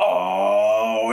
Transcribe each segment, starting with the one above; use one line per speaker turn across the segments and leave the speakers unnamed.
Oh,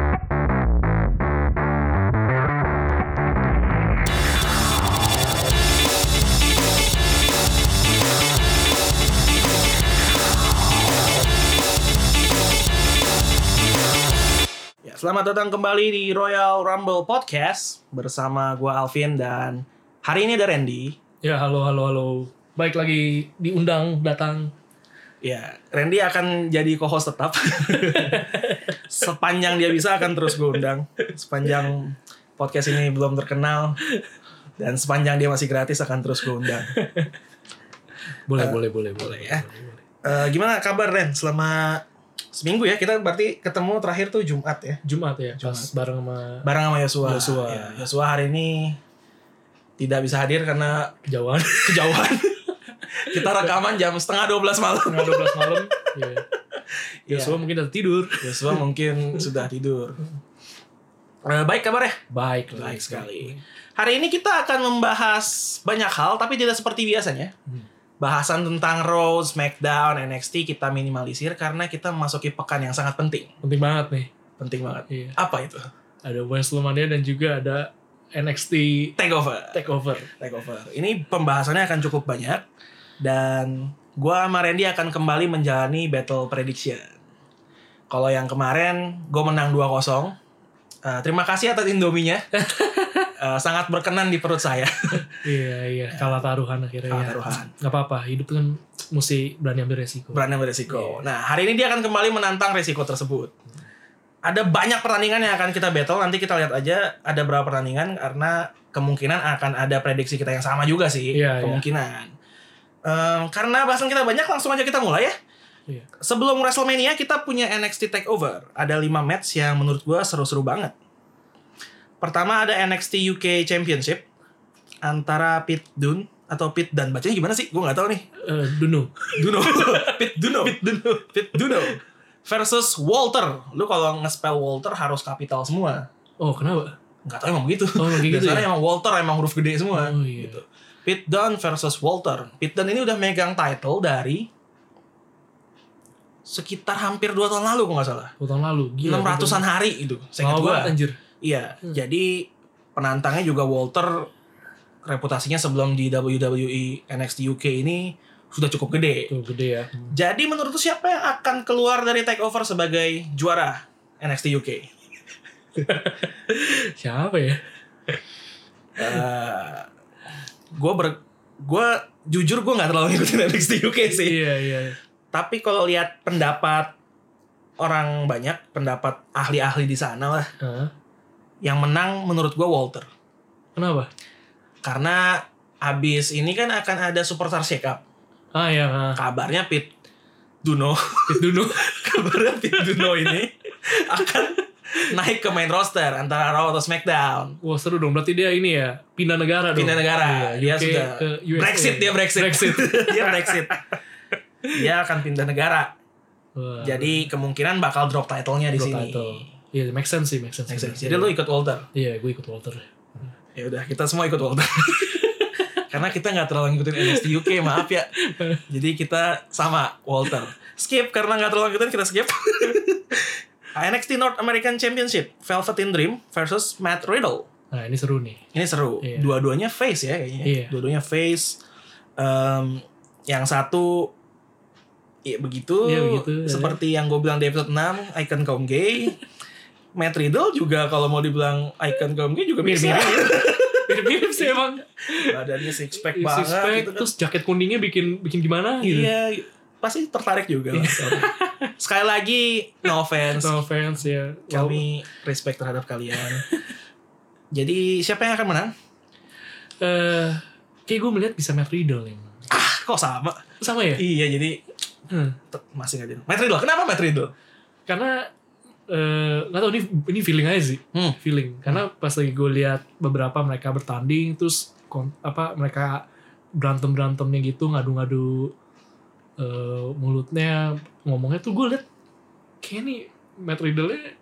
Ya, selamat datang kembali di Royal Rumble Podcast bersama gua Alvin dan hari ini ada Randy.
Ya halo halo halo. Baik lagi diundang datang.
Ya, Randy akan jadi co-host tetap. Sepanjang dia bisa akan terus gue undang. Sepanjang podcast ini belum terkenal dan sepanjang dia masih gratis akan terus gue undang.
Boleh boleh boleh boleh
ya. Eh, gimana kabar Ren? Selama seminggu ya kita berarti ketemu terakhir tuh Jumat ya.
Jumat ya pas bareng sama
Bareng sama Yosua.
Yosua.
Ya, Yosua hari ini tidak bisa hadir karena
kejauhan
kejauhan. kita rekaman jam setengah 12 malam.
setengah 12 malam. Ya.
Iya.
Yosua mungkin udah tidur.
Ya,
Ya,
Yosua mungkin sudah tidur. Eh, baik kabar ya?
Baik lah,
Baik sekali. Hari ini kita akan membahas banyak hal, tapi tidak seperti biasanya.
Hmm.
Bahasan tentang Raw, SmackDown, NXT kita minimalisir karena kita memasuki pekan yang sangat penting.
Penting banget nih.
Penting banget.
Iya.
Apa itu?
Ada Wrestlemania dan juga ada NXT
Takeover.
Takeover.
Takeover. Ini pembahasannya akan cukup banyak dan gua sama Randy akan kembali menjalani battle prediction. Kalau yang kemarin gue menang 2-0. Eh, terima kasih atas Indominya. Eh, sangat berkenan di perut saya.
Iya iya kalah taruhan
Eh.
akhirnya.
Kalah
ya.
taruhan.
Gak apa-apa hidup tuh kan mesti berani ambil resiko. Iya.
berani ambil resiko. Nah, hari ini dia akan kembali menantang resiko tersebut. Ada banyak pertandingan yang akan kita battle, nanti kita lihat aja ada berapa pertandingan karena kemungkinan akan ada prediksi kita yang sama juga sih,
Iya, iya.
kemungkinan. Em, karena bahasan kita banyak, langsung aja kita mulai ya.
Iya.
Sebelum WrestleMania kita punya NXT Takeover. Ada 5 match yang menurut gua seru-seru banget. Pertama ada NXT UK Championship antara Pit Dunne atau Pit Dan bacanya gimana sih? Gua nggak tahu nih.
Eh, Dunu.
Duno. Pit Duno. Pit Duno. Pit Duno. Versus Walter. Lu kalau nge-spell Walter harus kapital semua.
Oh kenapa?
Nggak tahu emang begitu.
Oh kayak gitu
Dasarnya
ya.
emang Walter emang huruf gede semua.
Oh, iya.
gitu. Pit Dunne versus Walter. Pit Dunne ini udah megang title dari sekitar hampir 2 tahun lalu kalau nggak salah.
Oh, tahun lalu. Gila.
600-an hari itu. Saya ingat
Lama
gua.
banget, anjir.
Iya,
Hmm.
jadi penantangnya juga Walter reputasinya sebelum di E WWE NXT UK ini sudah cukup gede.
Tuh gede ya.
Jadi menurut lu siapa yang akan keluar dari takeover sebagai juara NXT UK?
Siapa ya?
gue Eh, ber, gue jujur gue nggak terlalu ngikutin NXT UK sih.
Iya iya.
Tapi kalau lihat pendapat orang banyak, pendapat ahli-ahli di sana lah,
Hah?
yang menang menurut gue Walter.
Kenapa?
Karena abis ini kan akan ada Superstar Shake Up.
Ah ya, ah.
Kabarnya Pit Duno,
Pit Dunu.
kabarnya Pit Duno ini akan naik ke main roster antara Raw atau SmackDown.
Wah seru dong. Berarti dia ini ya pindah negara dong.
pindah negara. dia
Iya, UK
sudah
ke USA.
Brexit dia Brexit.
Brexit.
dia Brexit. Dia akan pindah negara.
Wah,
Jadi kemungkinan bakal drop title-nya di
drop
sini.
title. Iya, make sense sih, make sense.
Make sense. Jadi lu ikut Walter.
Iya, gue ikut Walter.
Ya udah, kita semua ikut Walter. Karena kita nggak terlalu ngikutin NXT UK, maaf ya. Jadi kita sama Walter. Skip karena nggak terlalu ngikutin kita skip. NXT North American Championship Velveteen Dream versus Matt Riddle.
Nah, ini seru nih.
Ini seru.
Iya.
Dua-duanya face ya kayaknya.
Iya.
Dua-duanya face. Em, yang satu ya begitu,
Iya, begitu, ya.
seperti yang gue bilang di episode 6 icon kaum gay. Matt Riddle juga kalau mau dibilang icon kaum gay juga bisa.
Mirip-mirip sih emang.
Badannya six pack banget.
Suspek,
gitu kan.
Iya, terus jaket kuningnya bikin bikin gimana gitu. Iya.
Iya, pasti tertarik juga. lah. Sorry. Sekali lagi no offense.
No offense ya.
Kami respect terhadap kalian. Jadi siapa yang akan menang?
Wow. Eh, kayak gue melihat bisa Matt Riddle nih.
Ah, kok sama?
Sama ya?
Iya, jadi
Hmm.
Tet- masih nggak jenuh. Matt Riddle, kenapa Matt Riddle?
Karena eh gak tau ini ini feeling aja sih.
Hmm.
feeling karena pas lagi gue lihat beberapa mereka bertanding terus kon- apa mereka berantem berantemnya gitu ngadu-ngadu eh, mulutnya ngomongnya tuh gue liat kayak nih Matt Riddle-nya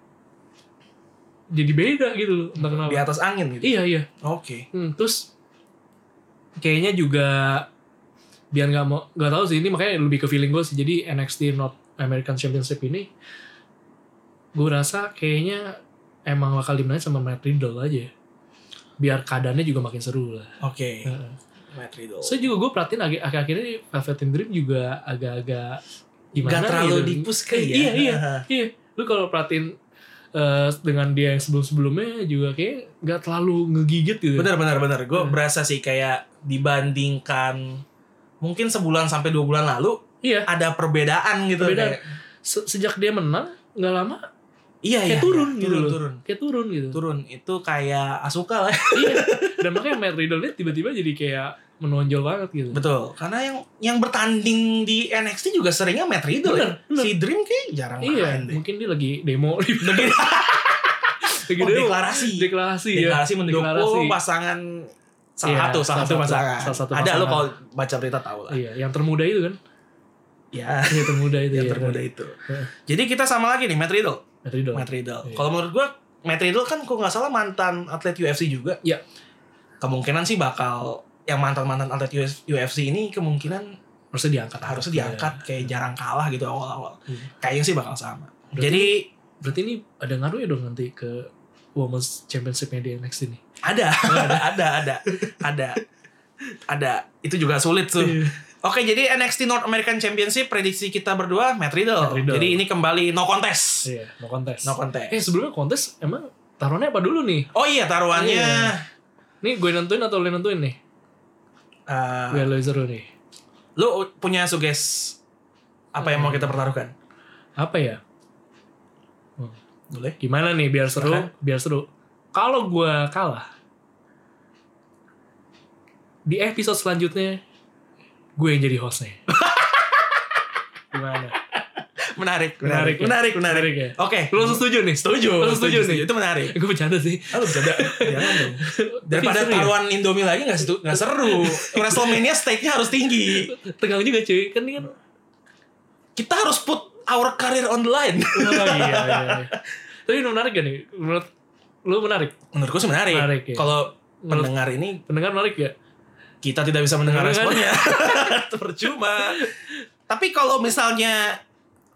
jadi beda gitu loh. Entah kenapa.
Di atas angin gitu.
Iya, iya.
Oke.
Hmm, terus kayaknya juga biar nggak mau nggak tahu sih ini makanya lebih ke feeling gue sih jadi NXT North American Championship ini gue rasa kayaknya emang bakal dimenangin sama Matt Riddle aja biar keadaannya juga makin seru lah.
Oke.
Heeh.
Matt Riddle.
So juga gue perhatiin ag- akhir-akhir ini Velvet Dream juga agak-agak gimana
Gak terlalu
gitu.
dipus kali ya.
Eh, Iya iya iya. Lu kalau perhatiin eh, dengan dia yang sebelum-sebelumnya juga kayak nggak terlalu ngegigit gitu.
Bener bener bener. Gue
Hmm.
berasa sih kayak dibandingkan mungkin sebulan sampai dua bulan lalu
Iya.
ada perbedaan gitu.
Perbedaan.
Kayak,
se- sejak dia menang nggak lama
iya
kayak
iya.
turun gitu
turun,
loh.
turun
kayak turun gitu
turun itu kayak Asuka lah.
iya dan makanya Matt Riddle ini tiba-tiba jadi kayak menonjol banget gitu
Betul. Karena yang yang bertanding di NXT juga seringnya Matt Riddle.
Bener,
ya.
bener.
Si Dream kayak jarang
iya
main deh.
mungkin dia lagi demo lagi
Lebih oh,
demo.
deklarasi.
Gitu deklarasi ya
deklarasi Oh, mendukung
Deklarasi.
pasangan salah
Iya,
satu salah
salah
satu
satu-
pasangan.
salah satu
Ada lo
pasangan.
kalau baca berita tahu lah.
iya yang termuda itu kan
Ya,
yang termuda itu
yang
ya
termuda itu.
Heeh.
Jadi kita sama lagi nih Matt Riddle.
Matt Riddle
Matt Riddle.
Iya.
Kalau menurut gua Matt Riddle kan kalau nggak salah mantan atlet UFC juga.
Iya.
Kemungkinan sih bakal yang mantan-mantan atlet US UFC ini kemungkinan
harusnya diangkat
harusnya diangkat kayak jarang kalah gitu awal-awal.
Iya.
Kayaknya sih bakal sama.
Berarti-
Jadi
Iya. berarti ini ada ngaruh ya dong nanti ke Women's Championship-nya di NXT ini
ada,
Oh,
ada, ada, ada, ada, ada. Itu juga sulit tuh.
Iya.
Oke, jadi NXT North American Championship prediksi kita berdua Matt Riddle.
Matt Riddle.
Jadi ini kembali no contest.
iya no kontes
No contest.
eh sebelumnya kontes emang taruhannya apa dulu nih
Oh iya, taruhannya
Iya. nih gue nentuin atau lo yang nentuin nih
eh,
gue lo seru nih
lu punya suges apa
Hmm.
yang mau kita pertaruhkan?
apa ya
Boleh.
gimana nih biar seru
Silakan.
biar seru kalau gua kalah di episode selanjutnya gue yang jadi hostnya gimana
Menarik, menarik,
Menarik ya?
menarik, menarik.
Menarik ya?
Oke,
lo langsung setuju nih
setuju,
lo setuju, nih
Itu menarik.
gue bercanda sih
Ah, lu bercanda. Jangan dong. Daripada
Tapi seru ya?
taruhan Indomie lagi gak, setu, nggak seru. WrestleMania stake-nya harus tinggi.
tegang juga cuy kan ini kan
Kita harus put our career on the line.
oh, iya, iya, iya. tapi ini menarik gak nih menurut lo menarik
Menurutku sih menarik.
Menarik, ya.
Kalau
Menurut-
pendengar ini
pendengar menarik gak
kita tidak bisa mendengar
Mendengar.
responnya. Percuma. Tapi kalau misalnya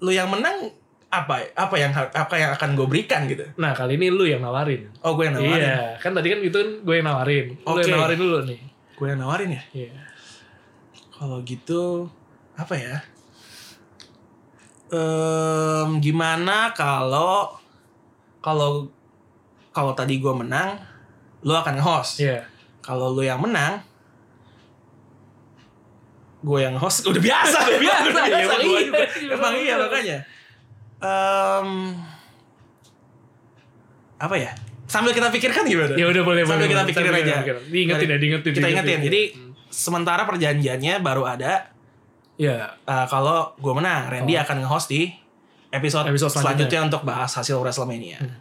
lu yang menang apa apa yang har- apa yang akan gue berikan gitu.
nah kali ini lu yang nawarin
Oh, gue yang nawarin.
Iya, kan tadi kan itu kan gue yang nawarin. Lu
Oke.
yang nawarin dulu nih.
Gue yang nawarin ya.
Iya.
Kalau gitu apa ya? Em, gimana kalau kalau kalau tadi gue menang, lu akan nge-host.
Iya.
Kalau lu yang menang, gue yang host udah biasa, udah biasa, udah
Iya,
biasa. Gua
emang iya.
juga. Emang iya makanya. Em, apa ya? Sambil kita pikirkan gimana?
Ya udah boleh
Sambil
boleh,
kita
boleh.
pikirin
Sambil
aja.
kita pikirin. Diingetin ya, diingetin.
Kita ingetin. Jadi
Hmm.
sementara perjanjiannya baru ada
Iya.
Eh, kalau gue menang, Randy
Oh.
akan nge-host di episode,
Episode
selanjutnya.
selanjutnya
untuk bahas hasil WrestleMania.
Hmm.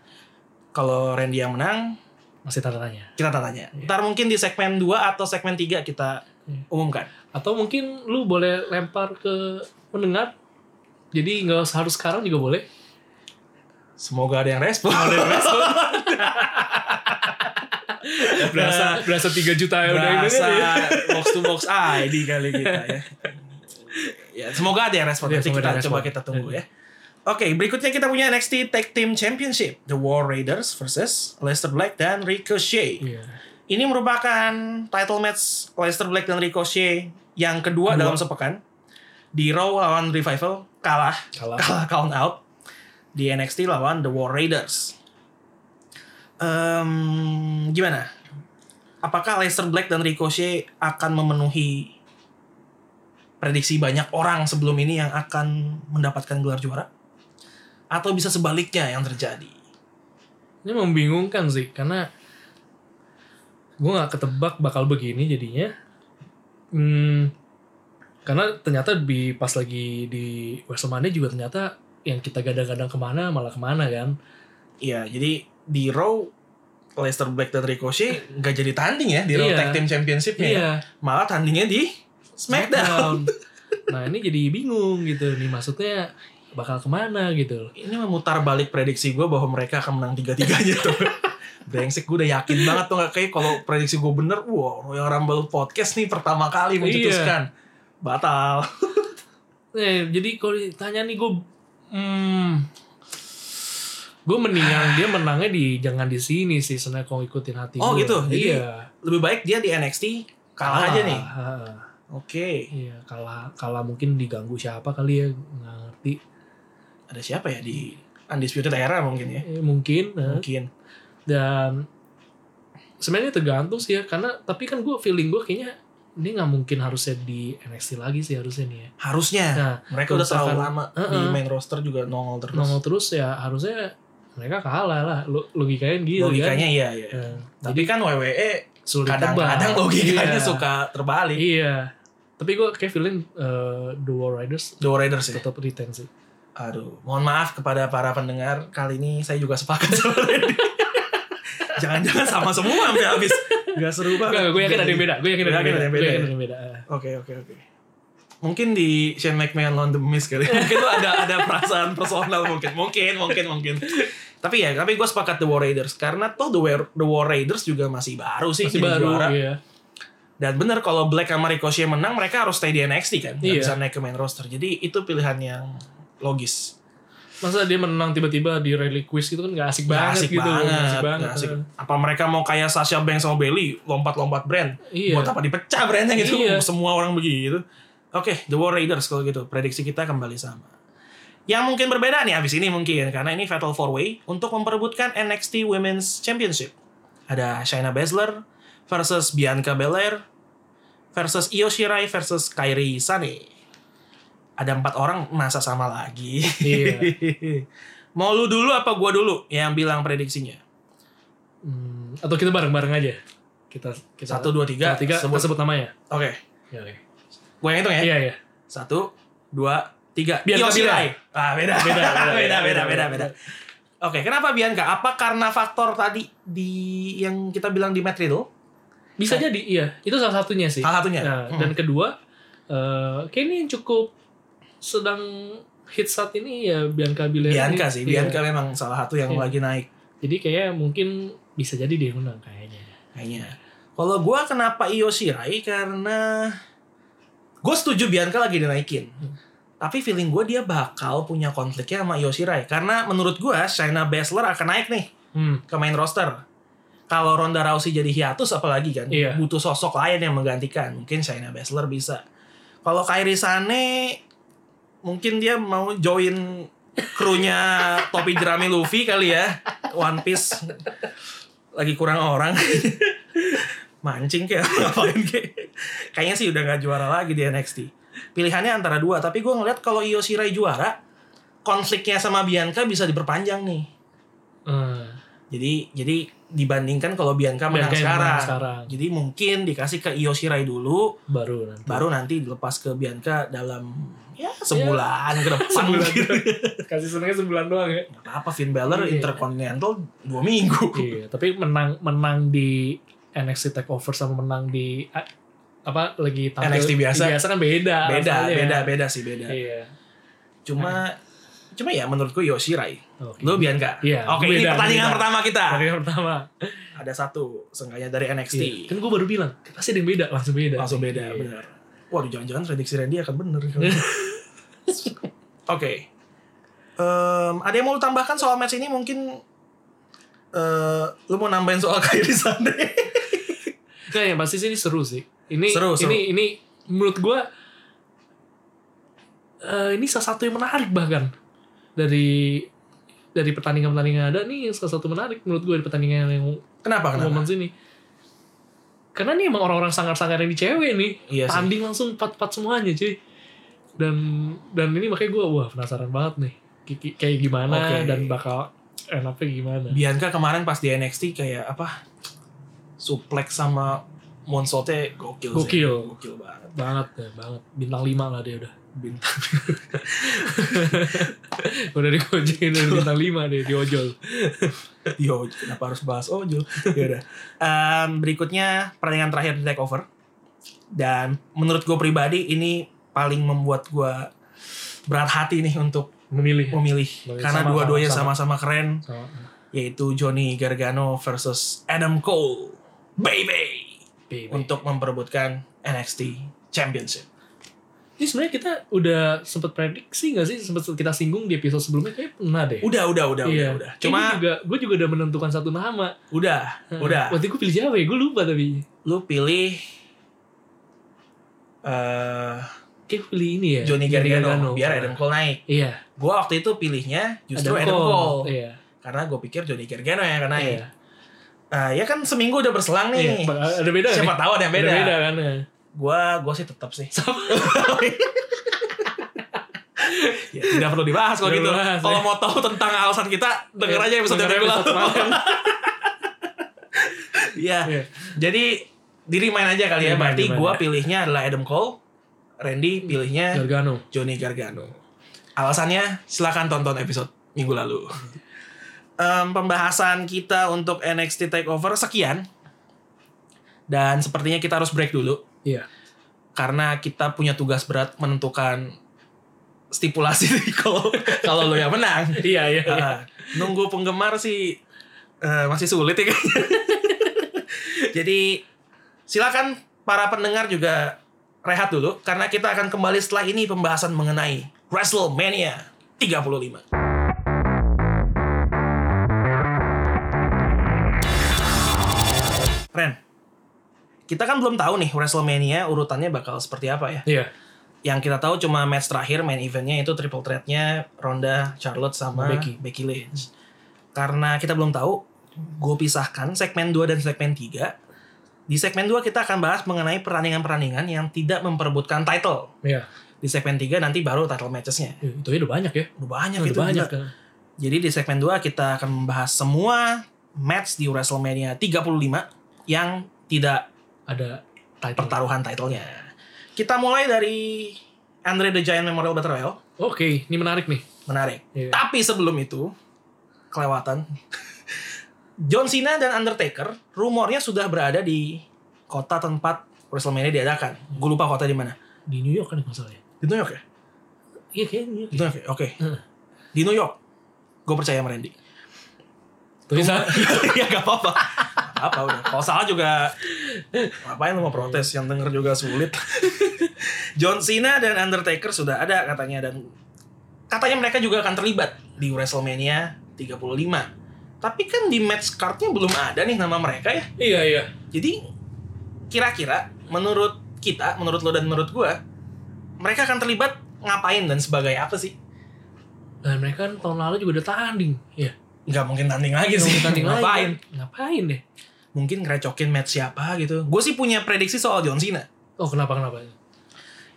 Kalau Randy yang menang,
Masih tanda tanya.
kita tanya.
Iya.
Ntar mungkin di segmen 2 atau segmen 3 kita
Iya.
umumkan.
Atau mungkin lu boleh lempar ke pendengar. Jadi nggak usah harus sekarang juga boleh.
Semoga ada yang respon.
Berasa berasa 3 juta ya udah ini
Berasa
kan ya.
box to box ID kali kita ya. ya semoga ada yang respon.
Iya,
Nanti
semoga
kita coba
ada yang respon. Iya.
kita tunggu ya. Oke, berikutnya kita punya NXT Tag Team Championship, The War Raiders versus Lester Black dan Ricochet.
Iya.
Ini merupakan title match Leicester Black dan Ricochet yang kedua
Kedua.
dalam sepekan. Di Raw lawan Revival kalah,
Kalah.
kalah count out. Di NXT lawan The War Raiders. Em, gimana? Apakah Leicester Black dan Ricochet akan memenuhi prediksi banyak orang sebelum ini yang akan mendapatkan gelar juara? Atau bisa sebaliknya yang terjadi?
Ini membingungkan sih karena gue nggak ketebak bakal begini jadinya. Hmm, karena ternyata di pas lagi di Wrestlemania juga ternyata yang kita gadang-gadang kemana malah kemana kan.
Iya, jadi di Raw Leicester Black dan Ricochet nggak jadi tanding ya di Raw
Iya.
Tag Team Championship-nya. ya.
Iya.
Malah tandingnya di SmackDown.
Smackdown. nah ini jadi bingung gitu nih maksudnya bakal kemana gitu loh.
Ini memutar balik prediksi gue bahwa mereka akan menang tiga-tiganya tuh. Brengsek gue udah yakin banget tuh nggak kayak kalau prediksi gue bener, wow Royal Rumble podcast nih pertama kali
Iya.
mencetuskan Iya. batal.
Eh, jadi kalau ditanya nih gue, hmm, gue mendingan dia menangnya di jangan di sini sih sebenarnya kalau ngikutin hati
Oh,
gue.
gitu? Jadi
Iya.
Lebih baik dia di NXT kalah aja nih.
Ha, ha.
Oke,
Iya, kalah kalah mungkin diganggu siapa kali ya nggak ngerti.
ada siapa ya di Undisputed Era mungkin ya?
Eh, mungkin. eh.
Mungkin.
dan sebenarnya tergantung sih ya karena tapi kan gue feeling gue kayaknya ini nggak mungkin harusnya di NXT lagi sih harusnya nih ya.
Harusnya.
Nah,
Mereka udah terlalu
misalkan-
lama
Heeh.
di main roster juga nongol terus.
nongol terus ya harusnya mereka kalah lah. Lo- Logikanya gitu
Logikanya iya, iya.
kan. Eh,
Tapi kan WWE
sulit
kadang-kadang
tebak.
logikanya
Iya.
suka terbalik.
Iya. Tapi gue kayak feeling eh, The War Riders
The Raiders ya.
tetap retain sih.
Aduh, mohon maaf kepada para pendengar kali ini saya juga sepakat sama Randy. Jangan-jangan sama semua sampai habis. Gak seru banget.
Gue yakin ada yang beda. Gue yakin ada
Yakin ada
yang
yang beda
beda. Gue yakin
ya?
ada yang beda. Eh.
Oke, oke, oke. Mungkin di Shane McMahon Lawan The Miz kali. Mungkin lu ada ada perasaan personal mungkin. Mungkin, mungkin, mungkin. Tapi ya, tapi gue sepakat The War Raiders karena toh The War, The War Raiders juga masih baru sih
Masih
jadi
baru.
juara.
Iya.
Dan bener kalau Black sama Ricochet menang mereka harus stay di NXT kan. Gak
Iya.
bisa naik ke main roster. Jadi itu pilihan yang logis.
Masa dia menang tiba-tiba di rally quiz gitu kan gak asik
Nggak
banget
asik
gitu.
banget,
Nggak asik
nggak
banget.
asik. Apa mereka mau kayak Sasha Banks sama Bailey lompat-lompat brand?
Iya.
Buat apa dipecah brandnya gitu?
Iya.
Semua orang begitu. Oke, The War Raiders kalau gitu. Prediksi kita kembali sama. Yang mungkin berbeda nih abis ini mungkin karena ini Fatal 4 Way untuk memperebutkan NXT Women's Championship. Ada Shayna Baszler versus Bianca Belair versus Io Shirai versus Kairi Sane. Ada empat orang masa sama lagi.
Iya.
Mau lu dulu apa gua dulu yang bilang prediksinya?
Hmm, atau kita bareng-bareng aja. Kita, kita
Satu, dua, tiga.
Tiga,
Sebut. Eh.
sebut, sebut namanya.
Oke,
Ya, oke.
gua yang hitung ya.
Iya, iya.
Satu, dua, tiga. Io
Bianca
Shirai. Ah, beda. Beda, beda, beda, beda, beda,
beda.
Oke, kenapa Bianca? Apa karena faktor tadi di yang kita bilang di Madrid itu?
Bisa jadi, iya. Itu salah satunya sih.
Salah satunya.
Nah,
Hmm.
Dan kedua, eh kayak ini yang cukup sedang hit saat ini ya Bianca Belair.
Bianca
ini.
sih,
Iya.
Bianca memang salah satu yang
Iya.
lagi naik
Jadi kayak mungkin bisa jadi dia menang kayaknya.
kayaknya. Kalau gua kenapa Io Shirai karena gue setuju Bianca lagi dinaikin. Tapi feeling gue dia bakal punya konfliknya sama Io Shirai karena menurut gua Shayna Baszler akan naik nih
Hmm.
ke main roster. Kalau Ronda Rousey jadi hiatus apalagi kan
Iya.
butuh sosok lain yang menggantikan. Mungkin Shayna Baszler bisa. Kalau Kairi Sane mungkin dia mau join krunya topi jerami Luffy kali ya. One Piece lagi kurang orang. Mancing kayak ngapain kayak. Kayaknya sih udah nggak juara lagi di NXT. Pilihannya antara dua, tapi gue ngeliat kalau Io Shirai juara, konfliknya sama Bianca bisa diperpanjang nih.
Eh,
Jadi jadi dibandingkan kalau Bianca menang
Bianca yang
sekarang.
menang sekarang.
Jadi mungkin dikasih ke Io Shirai dulu,
baru nanti.
baru nanti dilepas ke Bianca dalam ya sebulan ke depan
Sebulan.
mungkin.
Kasih senangnya sebulan doang ya.
Nggak Apa Finn Balor
Iya.
Intercontinental dua minggu.
Iya, tapi menang menang di NXT Takeover sama menang di a- apa lagi
NXT biasa.
biasa kan beda
Beda,
rasanya.
beda, beda sih beda.
iya
Cuma cuma ya menurutku Io Shirai.
oke
Lu Bianca.
Iya,
Oke, ini
beda,
pertandingan
beda.
pertama kita.
Pertandingan pertama
Ada satu seenggaknya dari NXT.
Iya. kan gue baru bilang pasti ada yang beda langsung beda
langsung beda
Iya.
benar waduh jangan-jangan prediksi Randy akan bener oke Em, ada yang mau lu tambahkan soal match ini mungkin eh lu mau nambahin soal kayak di sana
Nah, yang pasti sih ini seru sih. Ini
Seru, seru.
ini ini menurut gua eh, ini salah satu yang menarik bahkan dari dari pertandingan-pertandingan yang ada nih yang salah satu menarik menurut gua di pertandingan yang
kenapa kenapa
momen sini. Karena nih emang orang-orang sangar-sangar yang di cewek nih.
Iya sih.
tanding langsung empat-empat semuanya cuy. Dan dan ini makanya gua wah penasaran banget nih. Ki- ki- Kayak gimana
Oke.
dan bakal enaknya gimana.
Bianca kemarin pas di NXT kayak apa suplex sama moonsaultnya gokil sih.
Gokil.
gokil banget
Banget ya, banget. Bintang 5 lah dia udah.
bintang
Udah dikojolin dari bintang 5 deh, diojol.
Yo, kenapa harus bahas Ojo? Yaudah. Em, berikutnya pertandingan terakhir di Takeover. Dan menurut gue pribadi ini paling membuat gue berat hati nih untuk
memilih.
memilih
Memilih
karena
sama,
dua-duanya
sama,
Iya. sama-sama keren
Sama.
yaitu Johnny Gargano versus Adam Cole baby
Baby.
untuk memperebutkan NXT Championship
Ini sebenarnya kita udah sempat prediksi nggak sih? Sempat kita singgung di episode sebelumnya kayak pernah deh.
udah udah udah
Iya.
udah udah
Ini
cuma
juga gue juga udah menentukan satu nama.
udah udah
Waktu gue pilih siapa ya? Gue lupa tapi
lu pilih eh
kayak gue pilih ini ya.
Iya, Johnny Gargano biar Adam Cole naik
Iya.
gue waktu itu pilihnya justru Adam, Cole,
Iya.
karena gue pikir Johnny Gargano yang akan naik
Iya.
Nah, ya kan seminggu udah berselang
Iya.
nih
Ba- Ada beda.
siapa
nih?
tahu ada yang beda,
Ada beda kan. ya.
Gua gua sih tetap sih
Sama.
ya, tidak perlu dibahas kalau
Tidak
gitu.
perlu dibahas,
Kalau
ya.
mau tahu tentang alasan kita, denger
Iya,
aja episode
dengerin
yang lalu.
episode kemarin.
Iya.
Iya.
Jadi diri main aja kali ya.
Iya, main,
Berarti
main.
gua pilihnya adalah Adam Cole, Randy pilihnya
Gargano.
Johnny Gargano. Alasannya silakan tonton episode minggu lalu. Em, pembahasan kita untuk NXT Takeover sekian. Dan sepertinya kita harus break dulu.
Iya.
karena kita punya tugas berat menentukan stipulasi kalau kalau lo yang menang.
Iya iya. iya.
Ah, nunggu penggemar sih eh, masih sulit ya kayaknya. Jadi silakan para pendengar juga rehat dulu karena kita akan kembali setelah ini pembahasan mengenai WrestleMania 35. Ren, kita kan belum tahu nih WrestleMania urutannya bakal seperti apa ya
Iya.
yang kita tahu cuma match terakhir main eventnya itu triple threat-nya Ronda, Charlotte sama Becky,
Becky.
Lynch. Karena kita belum tahu, gue pisahkan segmen 2 dan segmen 3. Di segmen 2 kita akan bahas mengenai pertandingan-pertandingan yang tidak memperebutkan title.
Iya.
Di segmen 3 nanti baru title matches-nya.
Iya, Itu udah banyak ya.
Udah banyak
Udah
itu.
banyak
gila.
kan.
Jadi di segmen 2 kita akan membahas semua match di WrestleMania 35 yang tidak
Ada title.
pertaruhan titlenya. Kita mulai dari Andre the Giant Memorial Battle Royale.
Oke, ini menarik nih.
Menarik.
Iya.
Tapi sebelum itu, kelewatan. John Cena dan Undertaker rumornya sudah berada di kota tempat WrestleMania diadakan. Gue lupa kota di mana.
Di New York kan masalahnya.
Di New York ya?
Iya kayaknya New York.
Di
ya.
New York ya? Oke.
Heeh.
Di New York. Gue percaya sama Randy.
Tapi sa-
ya gak apa-apa. Gak apa udah. Kalau salah juga ngapain lu mau protes yang denger juga sulit. John Cena dan Undertaker sudah ada katanya dan katanya mereka juga akan terlibat di WrestleMania 35. Tapi kan di match cardnya belum ada nih nama mereka ya.
Iya iya.
Jadi kira-kira menurut kita, menurut lo dan menurut gua, mereka akan terlibat ngapain dan sebagai apa sih?
Dan mereka kan tahun lalu juga udah tanding. Iya.
Nggak mungkin tanding lagi Iya sih.
Mau tanding lagi,
ngapain?
kan? Ngapain deh?
Mungkin ngerecokin match siapa gitu. Gue sih punya prediksi soal John Cena.
Oh kenapa kenapa?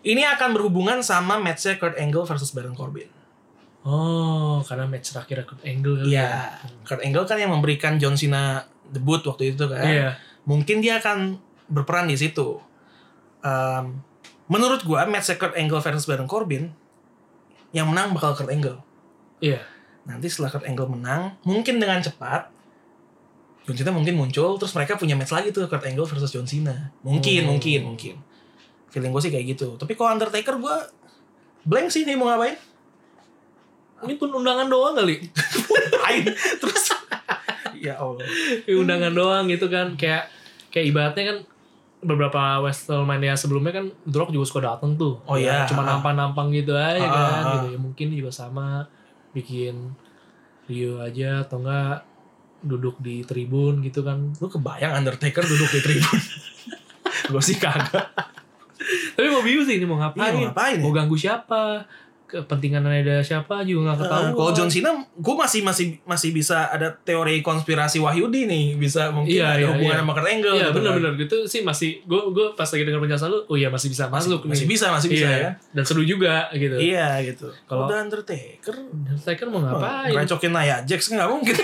Ini akan berhubungan sama match Kurt Angle versus Baron Corbin.
Oh karena match terakhir Kurt Angle. kali ya.
Iya, Kurt Angle kan yang memberikan John Cena debut waktu itu kan.
Iya.
Mungkin dia akan berperan di situ. Em, menurut gua match Kurt Angle versus Baron Corbin yang menang bakal Kurt Angle.
Iya.
Nanti setelah Kurt Angle menang, mungkin dengan cepat John Cena mungkin muncul terus mereka punya match lagi tuh Kurt Angle versus John Cena. Mungkin,
Hmm.
mungkin, mungkin. Feeling gue sih kayak gitu. Tapi kalau Undertaker gua blank sih nih mau ngapain.
Ini pun undangan doang kali.
lain terus ya Allah
Ini undangan doang gitu kan. Kayak kayak ibaratnya kan beberapa Wrestlemania sebelumnya kan The Rock juga suka dateng tuh.
Oh, iya.
Cuma nampang-nampang gitu
Ah,
aja kan.
ah.
Gitu. Ya, mungkin juga sama bikin Rio aja atau enggak duduk di tribun gitu kan
lu kebayang Undertaker duduk di tribun gue sih kagak
Tapi mau bingung sih ini mau
Iya,
ngapain?
mau ngapain ya?
Mau ganggu siapa? Kepentingannya ada siapa juga nggak ketahuan.
Ah, kalau John Cena gue masih masih masih bisa ada teori konspirasi Wahyudi nih bisa mungkin
Iya,
ada
iya,
hubungan
iya.
sama Kurt Angle
Iya
gitu kan.
benar-benar gitu sih masih gue gue pas lagi dengar penjelasan lu, oh iya masih bisa masuk
masih
nih.
bisa masih bisa
Iya,
ya
Dan seru juga gitu.
iya gitu kalau
Kalau-
udah Undertaker
Saya kan mau ngapain?
Oh, ngerecokin Nia Jax nggak mungkin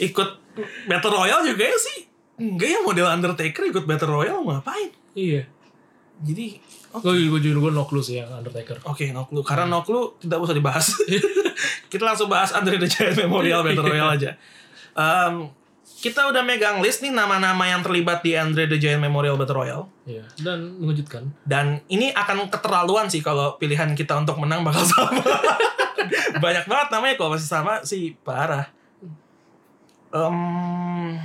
ikut Battle Royale juga ya sih enggak ya model Undertaker ikut Battle Royale mau ngapain
Iya.
jadi oke.
Gue gue jujur gue no clue sih yang Undertaker.
Oke, no clue. Karena no clue tidak usah dibahas. Kita langsung bahas Andre the Giant Memorial Battle Royale aja. Em, kita udah megang list nih nama-nama yang terlibat di Andre the Giant Memorial Battle Royale.
Iya. Dan mengejutkan.
Dan ini akan keterlaluan sih kalau pilihan kita untuk menang bakal sama. Banyak banget namanya kalau masih sama sih parah. Em,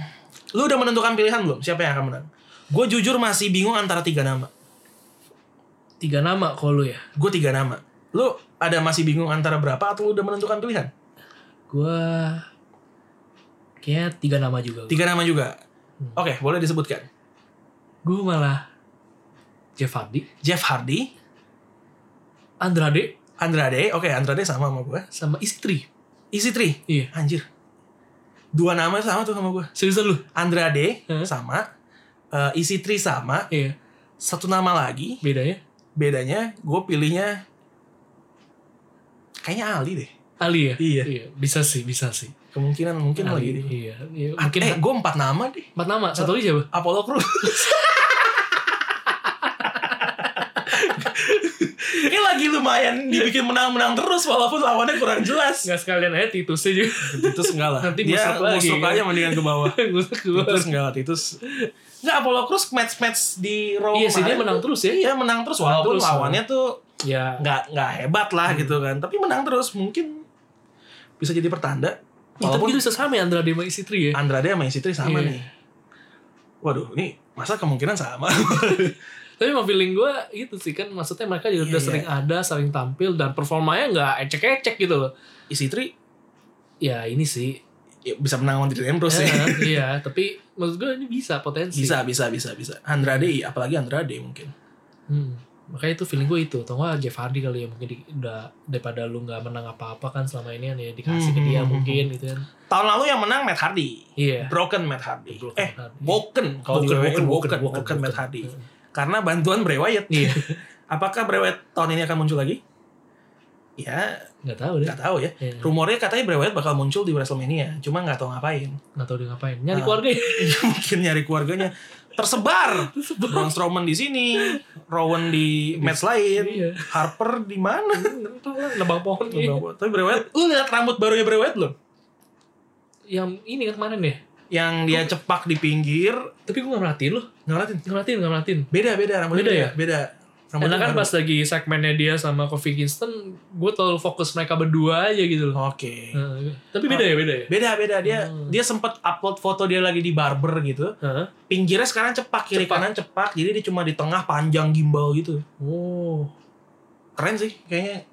lu udah menentukan pilihan belum? Siapa yang akan menang? Gue jujur masih bingung antara tiga nama.
Tiga nama kalau lu ya.
Gue tiga nama. Lu ada masih bingung antara berapa atau lu udah menentukan pilihan?
Gua kayaknya tiga nama juga.
Tiga nama juga. Oke, boleh disebutkan.
Gue malah Jeff Hardy,
Jeff Hardy,
Andrade,
Andrade. Oke, Andrade sama sama gue.
sama istri.
Isi Tri.
Iya.
Anjir. Dua nama sama tuh sama gue.
Seriusan lu?
Andrade
Hah?
sama, eh, Isi Tri sama,
Iya.
satu nama lagi.
Bedanya
Bedanya gue pilihnya kayaknya Ali deh.
Ali ya.
Iya.
Bisa sih, bisa sih.
Kemungkinan mungkin lagi.
Ali.
deh.
Iya. iya.
Ah,
Mungkin
eh, gue empat nama deh.
empat nama. Satu lagi siapa?
Apollo Crews. Ini lagi lumayan dibikin menang-menang terus walaupun lawannya kurang jelas.
Nggak sekalian aja Titusnya juga.
Titus enggak lah.
Nanti
Dia
busuk lagi,
busuk
kan?
aja mendingan ke bawah.
Gua keluar.
Titus enggak lah, Titus. Enggak, Apollo Crews match-match di Raw
Iya sih, dia
kemarin
menang
tuh-
terus ya.
Iya, menang terus. Walaupun
terus,
lawannya tuh
Ya. Hmm.
nggak nggak hebat lah gitu kan. Tapi menang terus. Mungkin bisa jadi pertanda.
Ya, tapi
Walaupun Ah.
itu bisa sama ya Andrade sama istri ya.
Andrade sama Sitri sama
Iya.
nih. Waduh, ini masa kemungkinan sama.
Tapi emang feeling gue gitu sih kan maksudnya mereka juga
Iya,
udah
iya.
sering ada, sering tampil dan performanya nggak ecek-ecek gitu loh.
Isitri
Ya ini sih.
ya, bisa menang lawan Titus Ambrose sih.
Eh, iya, tapi maksud gue ini bisa
ya.
potensi.
Bisa, bisa, bisa, bisa. Andrade, iya. apalagi Andrade mungkin.
Hmm. Makanya itu feeling gue itu. Atau nggak Jeff Hardy kali ya mungkin di- udah daripada lu nggak menang apa-apa kan selama ini kan ya dikasih ke
Hmm,
dia
hmm,
mungkin gitu kan.
Tahun lalu yang menang Matt Hardy.
Iya.
Broken Matt Hardy.
Broken Iya.
eh,
Matt Hardy.
Woken. Kalau di
Woken,
WWE, Woken,
Woken, Woken,
Woken,
Woken,
Matt
Woken.
Hardy. Karena bantuan Bray Wyatt.
Iya.
Apakah Bray Wyatt tahun ini akan muncul lagi? Ya,
Nggak tahu deh.
nggak tahu ya.
Iya.
Rumornya katanya Bray Wyatt bakal muncul di WrestleMania. Cuma nggak tahu ngapain.
Nggak tahu dia ngapain. Nyari
Ah.
keluarga ya.
Mungkin nyari keluarganya. Tersebar. Braun Strowman di sini. Rowan di match lain.
Iya.
Harper di mana?
Nebang pohon.
Nggak tahu. Tapi Bray Wyatt, lu lihat rambut barunya Bray Wyatt belum?
Yang ini kan kemarin ya.
Yang dia cepak di pinggir.
Tapi gue nggak merhatiin loh.
Nggak ngeliatin.
Nggak merhatiin, nggak merhatiin.
Beda, beda. Rambutnya
Beda
beda,
ya?
Beda.
Karena kan
baru.
pas lagi segmennya dia sama Kofi Kingston, gue terlalu fokus mereka berdua aja gitu loh.
Oke.
Heeh. tapi beda ya, beda ya.
Beda beda dia
Hmm.
dia sempat upload foto dia lagi di barber gitu.
Heeh.
Pinggirnya sekarang cepak kiri
Cepak.
kanan cepak. Jadi dia cuma di tengah panjang gimbal gitu.
Oh,
Keren sih kayaknya.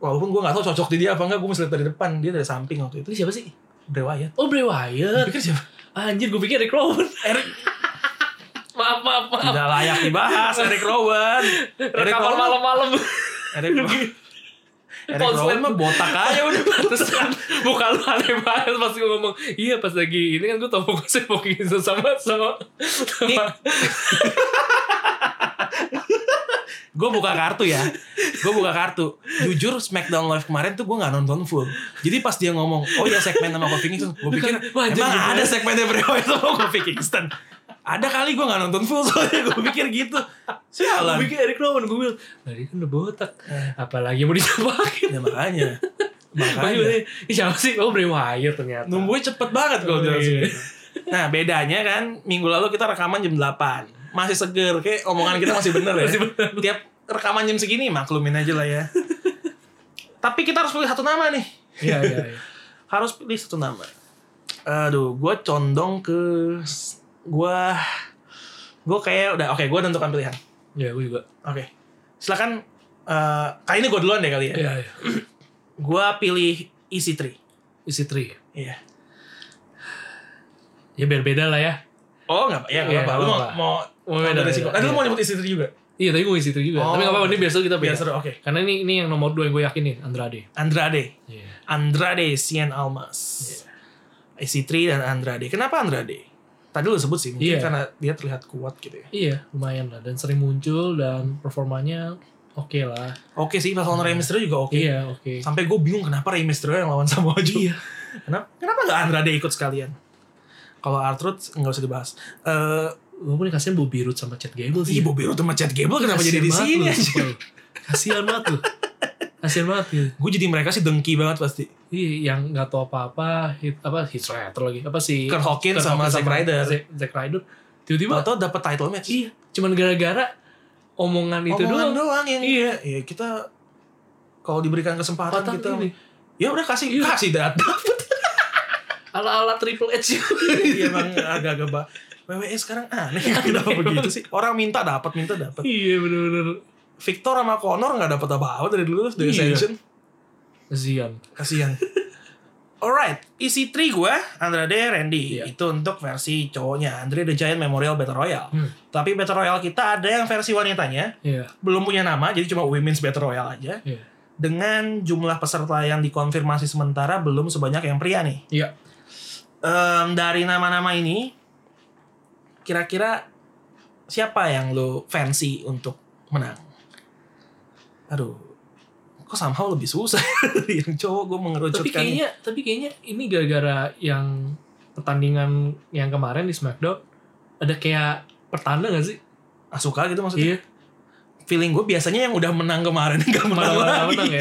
Walaupun gue gak tahu cocok di dia apa enggak, gue mesti lihat dari depan. Dia dari samping waktu itu.
itu siapa sih?
Bray Wyatt.
Oh Bray Wyatt.
Pikir siapa?
Anjir, gue pikir Rick Rowan.
Eric
maaf, maaf, maaf.
tidak layak dibahas. Eric Rowan. Eric
Rekaman
Rowan.
malam-malam.
Eric Rowan. Eric Rowan mah botak aja udah.
Terus kan muka lu aneh banget pas gue ngomong. Iya pas lagi ini kan gue tau fokusnya Kofi Kingston sama sama.
Nih.
sama
gue buka kartu ya gue buka kartu jujur Smackdown Live kemarin tuh gue nggak nonton full jadi pas dia ngomong oh ya segmen sama Kofi Kingston gue pikir
Wah,
emang
jadi-
ada segmennya Bray Wyatt sama Kofi Kingston ada kali gue nggak nonton full soalnya gue pikir gitu
Gue
sialan
pikir Eric Rowan gue bilang, nah dia kan udah botak. Apalagi mau dicapakin.
ya makanya
Makanya
makanya
berarti, ini siapa sih? Oh Bray Wyatt ternyata.
numbuhnya cepet banget gue
Oh,
bilang segitu.
iya.
nah bedanya kan minggu lalu kita rekaman jam 8 masih seger kayak omongan kita masih bener ya
Masih bener.
tiap rekaman jam segini maklumin aja lah ya tapi kita harus pilih satu nama nih
Iya, iya, iya.
harus pilih satu nama. Aduh, gue condong ke gue gue kayak udah oke gue tentukan pilihan.
Iya, gue juga.
Oke, silakan. eh kali ini gue duluan deh kali ya.
Iya, iya.
Gue pilih isi tri.
Isi tri.
Iya.
Ya biar beda lah ya.
Oh nggak apa, ya nggak
Iya,
apa. Lu
nggak
mau mau
apa. Mau
ambil
beda,
resiko.
beda.
Ah, lu
Iya.
mau nyebut isi tri juga.
Iya, tapi gue isi tri juga.
Oh.
Tapi nggak apa-apa, ini biasa kita beda.
Biasa, oke.
Karena ini ini yang nomor dua yang gue yakin nih, Andrade.
Andrade,
Iya.
Andrade, Cien Almas, isi tri dan Andrade. Kenapa Andrade? Tadi lu sebut sih mungkin
Iya.
karena dia terlihat kuat gitu ya.
Iya, lumayan lah. Dan sering muncul dan performanya oke lah.
Oke sih, pas lawan Rey Mysterio juga oke.
Iya, oke.
Sampai gue bingung kenapa Rey Mysterio yang lawan Samoa Joe.
Iya.
Kenapa, kenapa gak Andrade ikut sekalian? Kalau Artruth nggak usah dibahas. Eh,
Gue boleh kasihan Bobby Roode sama Chad Gable
Ih,
sih.
Bobby Roode sama Chad Gable kenapa
Kasihan
jadi di
banget
sini?
lu,
anjir?
Kasihan banget lu. Kasian banget gitu.
Gue jadi mereka sih dengki banget pasti.
Ih, yang nggak tahu apa-apa, hit, apa hit Slater lagi, apa si
Kurt Iya. Hawkins sama Zack Ryder.
Zack- Zack Ryder. Tiba-tiba,
Atau dapat title match.
iya, cuman gara-gara omongan itu
Omongan
doang.
yang
Iya.
ya kita kalau diberikan kesempatan
Patah
kita
ini.
ya udah kasih
Iya.
kasih data
Ala-ala Triple H.
Iya emang agak-agak bah WWE sekarang aneh ya, kenapa begitu sih orang minta dapat minta dapat
iya, bener-bener.
Victor sama Connor nggak dapat apa-apa dari dulu dari
Iya.
Ascension
Zian.
kasihan Alright, isi 3 gue, Andrade, Randy.
Iya.
Itu untuk versi cowoknya, Andre the Giant Memorial Battle Royale.
Hmm.
Tapi Battle Royale kita ada yang versi wanitanya,
Iya,
belum punya nama, jadi cuma Women's Battle Royale aja.
iya.
dengan jumlah peserta yang dikonfirmasi sementara belum sebanyak yang pria nih.
Iya.
Em, dari nama-nama ini, kira-kira siapa yang lo fancy untuk menang? Aduh, kok somehow lebih susah dari yang cowok gue mengerucutkan.
Tapi kayaknya, tapi kayaknya ini gara-gara yang pertandingan yang kemarin di SmackDown ada kayak pertanda gak sih?
Asuka gitu maksudnya.
Iya,
Feeling gue biasanya yang udah menang kemarin nggak menang
malah
lagi.
menang ya.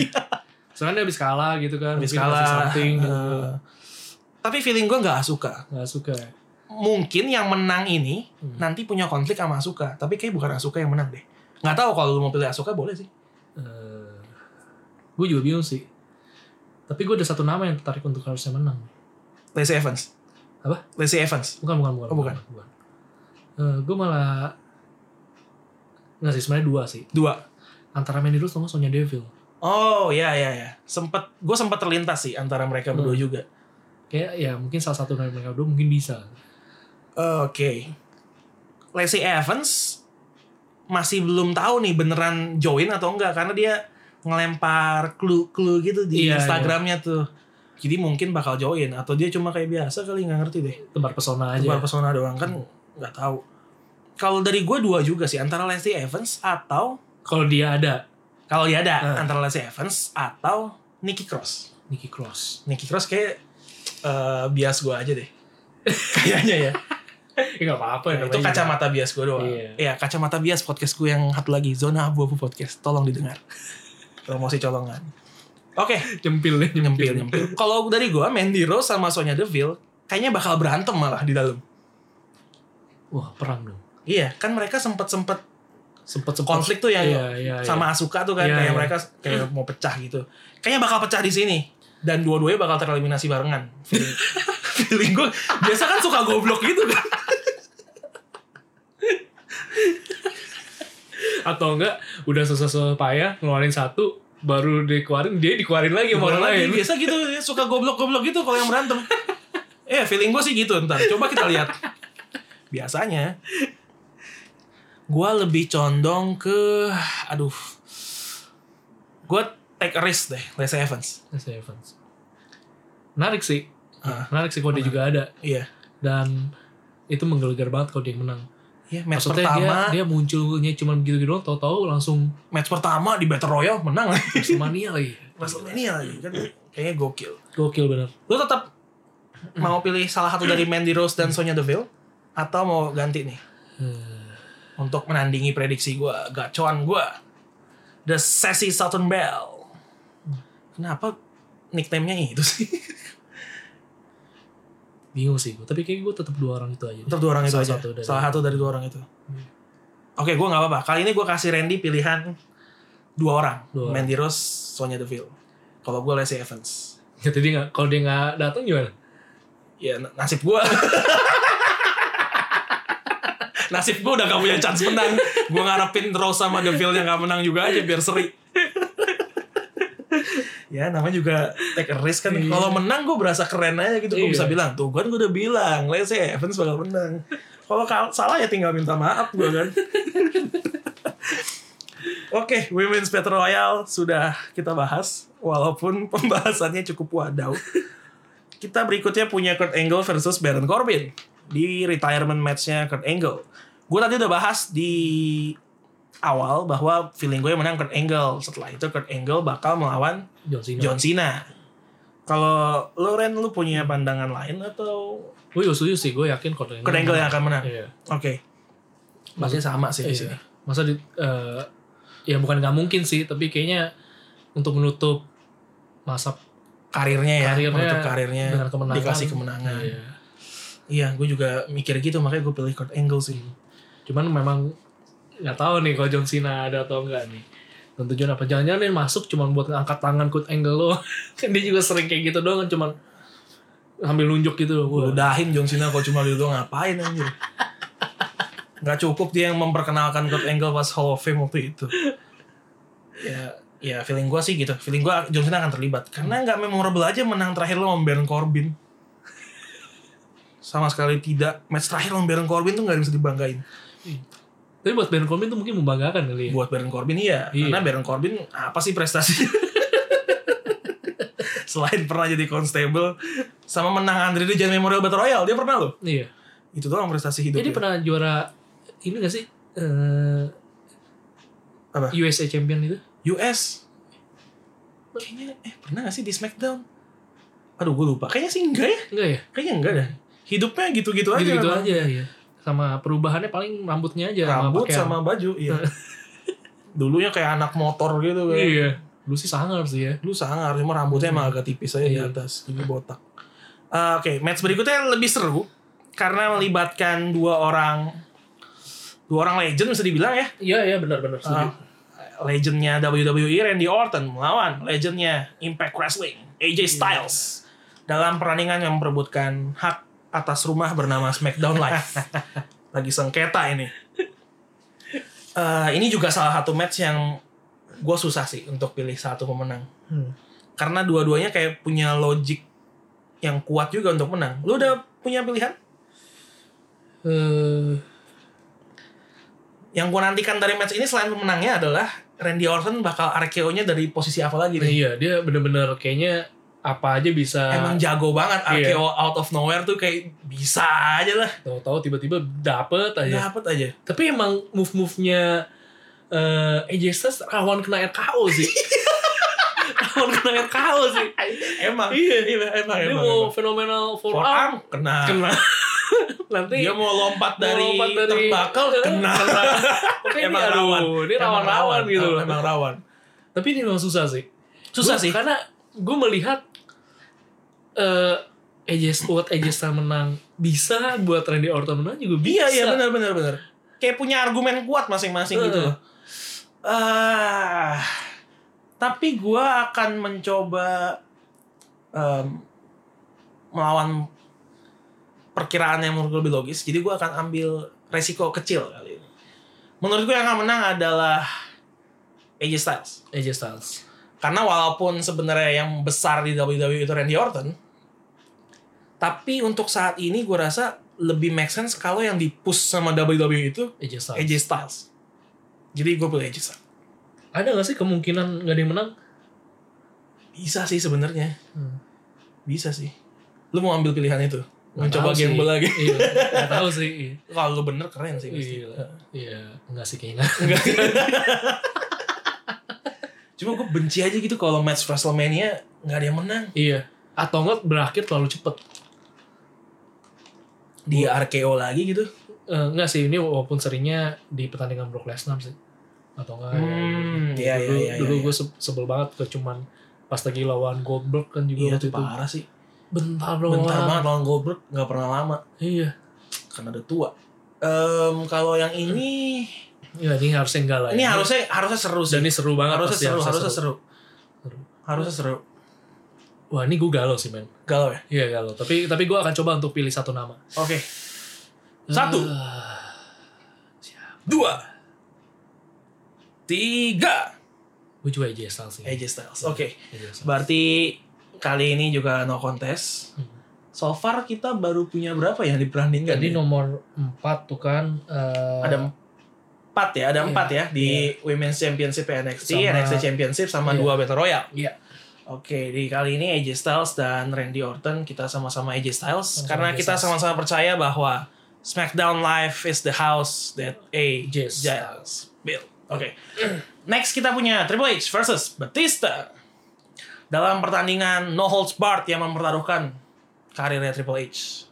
Soalnya dia habis kalah gitu kan,
iya. Habis
mungkin
kalah.
kasih something gitu.
Eh, tapi feeling gue nggak Asuka.
Nggak suka ya.
mungkin yang menang ini
Hmm.
nanti punya konflik sama Asuka tapi kayak bukan Asuka yang menang deh nggak tahu kalau lu mau pilih Asuka boleh sih
gue Eh, juga bingung sih. Tapi gue ada satu nama yang tertarik untuk harusnya menang.
Lacey Evans
Apa?
Lacey Evans
Bukan, bukan, bukan.
Oh, bukan.
gue malah... Nggak sih, sebenarnya dua sih.
dua
Antara Mandy Rose sama Sonya Deville.
oh ya ya ya sempet gue sempet terlintas sih antara mereka berdua
Hmm.
juga
Kayak ya mungkin salah satu dari mereka berdua mungkin bisa.
oke Lacey Evans masih belum tahu nih beneran join atau enggak karena dia ngelempar clue-clue gitu di
Iya, iya.
Instagramnya tuh jadi mungkin bakal join atau dia cuma kayak biasa kali nggak ngerti deh
Tebar pesona aja.
Tebar pesona doang kan nggak tahu. Kalau dari gue dua juga sih antara Lacey Evans atau
Kalau dia ada,
kalau dia ada
Hmm.
antara Lacey Evans atau Nikki Cross.
Nikki Cross.
Nikki Cross kayak eh, bias gue aja deh. Kayaknya ya.
Ya nggak apa-apa. ya,
Itu
namanya juga.
kacamata bias gue doang.
Iya.
Iya, kacamata bias podcast gue yang satu lagi zona abu-abu podcast. Tolong didengar. Promosi colongan. Oke,
Nyempil deh,
nyempil nyempil. Kalau dari gue Mandy Rose sama Sonya Deville kayaknya bakal berantem malah di dalam.
Wah, perang dong.
Iya, kan mereka sempet-sempet
Sempet sempet
konflik tuh yang
Iya, iya,
sama Asuka tuh kan
Iya,
kayak
iya.
mereka kayak mau pecah gitu. Kayaknya bakal pecah di sini dan dua-duanya bakal tereliminasi barengan. Feeling, feeling gue biasa kan suka goblok gitu kan.
atau enggak udah susah-susah payah ngeluarin satu baru dikeluarin dia dikeluarin lagi sama orang
Lagi,
lain
biasa gitu suka goblok-goblok gitu kalau yang berantem. Eh, feeling gue sih gitu ntar. Coba kita lihat. Biasanya gue lebih condong ke aduh gue take a risk deh Lacey Evans
Lacey Evans menarik sih
Ah.
menarik sih kalau dia juga ada
iya
dan itu menggelegar banget kalau dia yang menang
Iya, match
maksudnya
pertama
dia dia munculnya cuma begitu gitu doang tahu-tahu langsung
match pertama di Battle Royale menang lagi
Wrestlemania lagi Gitu.
WrestleMania lagi kan
Hmm.
kayaknya gokil.
gokil bener
Lu tetap mau pilih salah satu dari Mandy Rose dan Sonya Deville atau mau ganti nih
Eh,
untuk menandingi prediksi gua, gacoan gua. The Sassy Southern Belle. Kenapa nickname-nya itu sih?
bingung sih gue tapi kayak gue tetap dua orang itu aja deh.
Tetap dua orang itu
Salah
aja.
satu dari- Hmm.
salah satu dari dua orang itu. Oke, gua nggak apa-apa. Kali ini gua kasih Randy pilihan dua orang.
Dua orang.
Mandy Rose, Sonya Deville. Kalau gua Lacey Evans.
jadi dia nggak kalau dia nggak datang gimana
ya na- nasib gue nasib gue udah gak punya chance menang gue ngarepin terus sama Deville yang gak menang juga aja biar seri ya namanya juga take a risk kan
Iya.
kalau menang gue berasa keren aja gitu gue
Iya.
bisa bilang tuh kan gue udah bilang Lacey Evans bakal menang kalau kal- salah ya tinggal minta maaf gue kan Oke, Women's Battle Royale sudah kita bahas, walaupun pembahasannya cukup wadau. Kita berikutnya punya Kurt Angle versus Baron Corbin di retirement matchnya Kurt Angle. Gue tadi udah bahas di awal bahwa feeling gue menang Kurt Angle. Setelah itu Kurt Angle bakal melawan
John Cena
John Cena. Kalau lo Ren, lu punya pandangan lain atau
gue juga setuju oh, sih gue yakin kalau dia
Kurt Angle ya. yang akan menang? Oke,
Iya.
maksudnya sama sih di
Iya.
sini.
Masa di eh, ya bukan nggak mungkin sih, tapi kayaknya untuk menutup masa
karirnya ya
Karirnya
menutup karirnya
dengan kemenangan.
dikasih kemenangan iya,
Iya.
gue juga mikir gitu makanya gue pilih Kurt Angle sih
Cuman memang nggak tahu nih kalau John Cena ada atau enggak nih. Dan tujuan apa? Jangan-jangan dia masuk cuma buat ngangkat tangan Kurt Angle lo. kan dia juga sering kayak gitu doang kan cuman sambil nunjuk gitu loh. Wah,
Lu udahin John Cena kalau cuma gitu ngapain anjir nggak cukup dia yang memperkenalkan Kurt Angle pas Hall of Fame waktu itu ya ya feeling gue sih gitu feeling gue John Cena akan terlibat karena nggak memorable aja menang terakhir lo sama Baron Corbin sama sekali tidak match terakhir lo sama Baron Corbin tuh nggak bisa dibanggain
Tapi buat Baron Corbin tuh mungkin membanggakan kali ya.
buat Baron Corbin iya,
Iya.
karena Baron Corbin apa sih prestasi selain pernah jadi constable sama menang Andre the Giant Memorial Battle Royale dia pernah loh
Iya.
itu doang prestasi hidup
Jadi pernah juara ini gak sih? Eh,
Apa?
USA Champion itu?
US kayaknya eh pernah gak sih di Smackdown aduh gue lupa kayaknya sih enggak ya
Enggak ya?
kayaknya enggak dah hidupnya gitu-gitu aja
Gitu-gitu
memang. Iya.
aja ya. Sama perubahannya paling rambutnya aja
rambut
pakaian.
sama baju iya dulunya kayak anak motor gitu kayak
Iya. Lu sih sangar sih ya.
lu sangar cuma rambutnya emang agak tipis aja di
Iya.
atas jadi botak Eh, oke match berikutnya lebih seru karena melibatkan dua orang dua orang legend bisa dibilang ya
Iya, iya benar-benar
Eh, legendnya WWE Randy Orton melawan legendnya Impact Wrestling AJ Styles dalam pertandingan yang memperebutkan hak atas rumah bernama SmackDown Live lagi sengketa ini Eh, ini juga salah satu match yang gue susah sih untuk pilih satu pemenang
Hmm.
karena dua-duanya kayak punya logik yang kuat juga untuk menang. Lu udah punya pilihan?
Eh,
Yang gua nantikan dari match ini selain pemenangnya adalah Randy Orton bakal RKO-nya dari posisi apa lagi
nah
nih?
iya, dia bener-bener kayaknya apa aja bisa
Emang jago banget
Iya.
RKO out of nowhere tuh kayak bisa aja lah.
tahu-tahu tiba-tiba dapet aja.
Dapet aja.
Tapi emang move-move-nya eh AJ Styles rawan kena RKO sih. rawan kena RKO sih.
Emang.
Iya.
emang,
Dia
emang.
mau
emang.
fenomenal forearm,
Forearm kena.
kena. Nanti
Dia mau lompat
mau
dari,
lompat
terbakal kena.
Oke, ini, aduh, Ini
Emang
rawan-rawan gitu loh.
Emang rawan.
Tapi ini memang susah sih.
Susah
Gua-
sih.
Karena gue melihat eh AJ buat AJ Styles menang bisa, buat Randy Orton menang juga bisa.
Iya iya benar benar benar. Kayak punya argumen kuat masing-masing gitu
Heeh.
loh. Ah. tapi gua akan mencoba em, melawan perkiraan yang menurut gue lebih logis. Jadi gua akan ambil resiko kecil kali ini. Menurut gue yang akan menang adalah AJ Styles.
AJ Styles.
Karena walaupun sebenarnya yang besar di WWE itu Randy Orton, tapi untuk saat ini gue rasa lebih make sense kalau yang dipush sama WWE itu
AJ Styles.
AJ Styles. Jadi gue pilih AJ Styles.
Ada gak sih kemungkinan gak ada yang menang?
Bisa sih sebenarnya,
Hmm.
bisa sih. Lu mau ambil pilihan itu? Mau
Nggak
coba
tahu sih.
gamble lagi?
Iya, gak tahu sih. Iya.
Kalau lu bener keren sih pasti.
Iya, iya, enggak sih kayaknya.
Enggak. Cuma gue benci aja gitu kalau match WrestleMania nggak ada yang menang.
iya. Atau enggak berakhir terlalu cepet.
Di RKO lagi gitu.
Eh, enggak sih, ini walaupun seringnya di pertandingan Brock Lesnar sih. Atau enggak. ya,
Hmm,
dulu
iya, iya,
dulu,
iya, iya.
gue sebel banget ke cuman pas lagi lawan Goldberg kan juga
Iya
waktu
tuh
itu.
parah sih.
Bentar doang.
Bentar banget lawan Goldberg nggak pernah lama
Iya.
karena udah tua. Em, kalau yang ini,
Iya, ini harusnya enggak lah.
ini harusnya harusnya seru sih.
dan ini seru banget
harusnya
pasti, ya,
seru, harusnya seru.
Seru.
Harusnya seru.
Wah, ini gue galau sih, men.
Galau ya.
Iya, galau. Tapi tapi gue akan coba untuk pilih satu nama.
Oke. Satu,
Ah,
dua, tiga.
gue juga AJ Styles sih.
AJ Styles. Oke.
AJ Styles.
Berarti kali ini juga no contest. So far kita baru punya berapa yang diperandingkan?
Hmm. Jadi
ya?
nomor 4 tuh kan eh,
Ada empat ya, ada
Iya.
empat ya di Women's Championship NXT,
Sama-
NXT Championship sama
Iya.
dua Battle Royale.
Iya.
Oke, di kali ini AJ Styles dan Randy Orton kita sama-sama AJ Styles
Sama-sama
karena
AJ
kita
Styles.
sama-sama percaya bahwa SmackDown Live is the house that AJ
Yes.
Styles built. Oke. Next kita punya Triple H versus Batista. Dalam pertandingan No Holds Barred yang mempertaruhkan karirnya Triple H.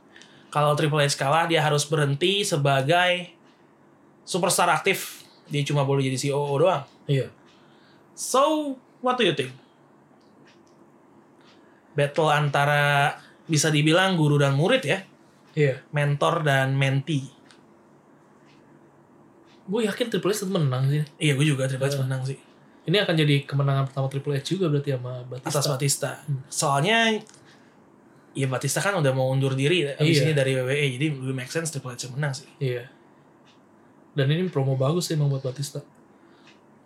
Kalau Triple H kalah dia harus berhenti sebagai E superstar aktif. Dia cuma boleh jadi COO doang.
Iya.
So, What do you think? Battle antara bisa dibilang guru dan murid ya,
Iya.
mentor dan mentee.
Gue yakin Triple H tetap menang sih.
Iya, gue juga Triple H
Eh,
menang sih
Ini akan jadi kemenangan pertama Triple H juga berarti sama Batista. Hmm.
atas Batista. Soalnya ya Batista kan udah mau undur diri abis
Iya.
ini dari WWE, jadi lebih make sense Triple H yang menang sih.
Iya. Dan ini promo bagus sih emang buat Batista.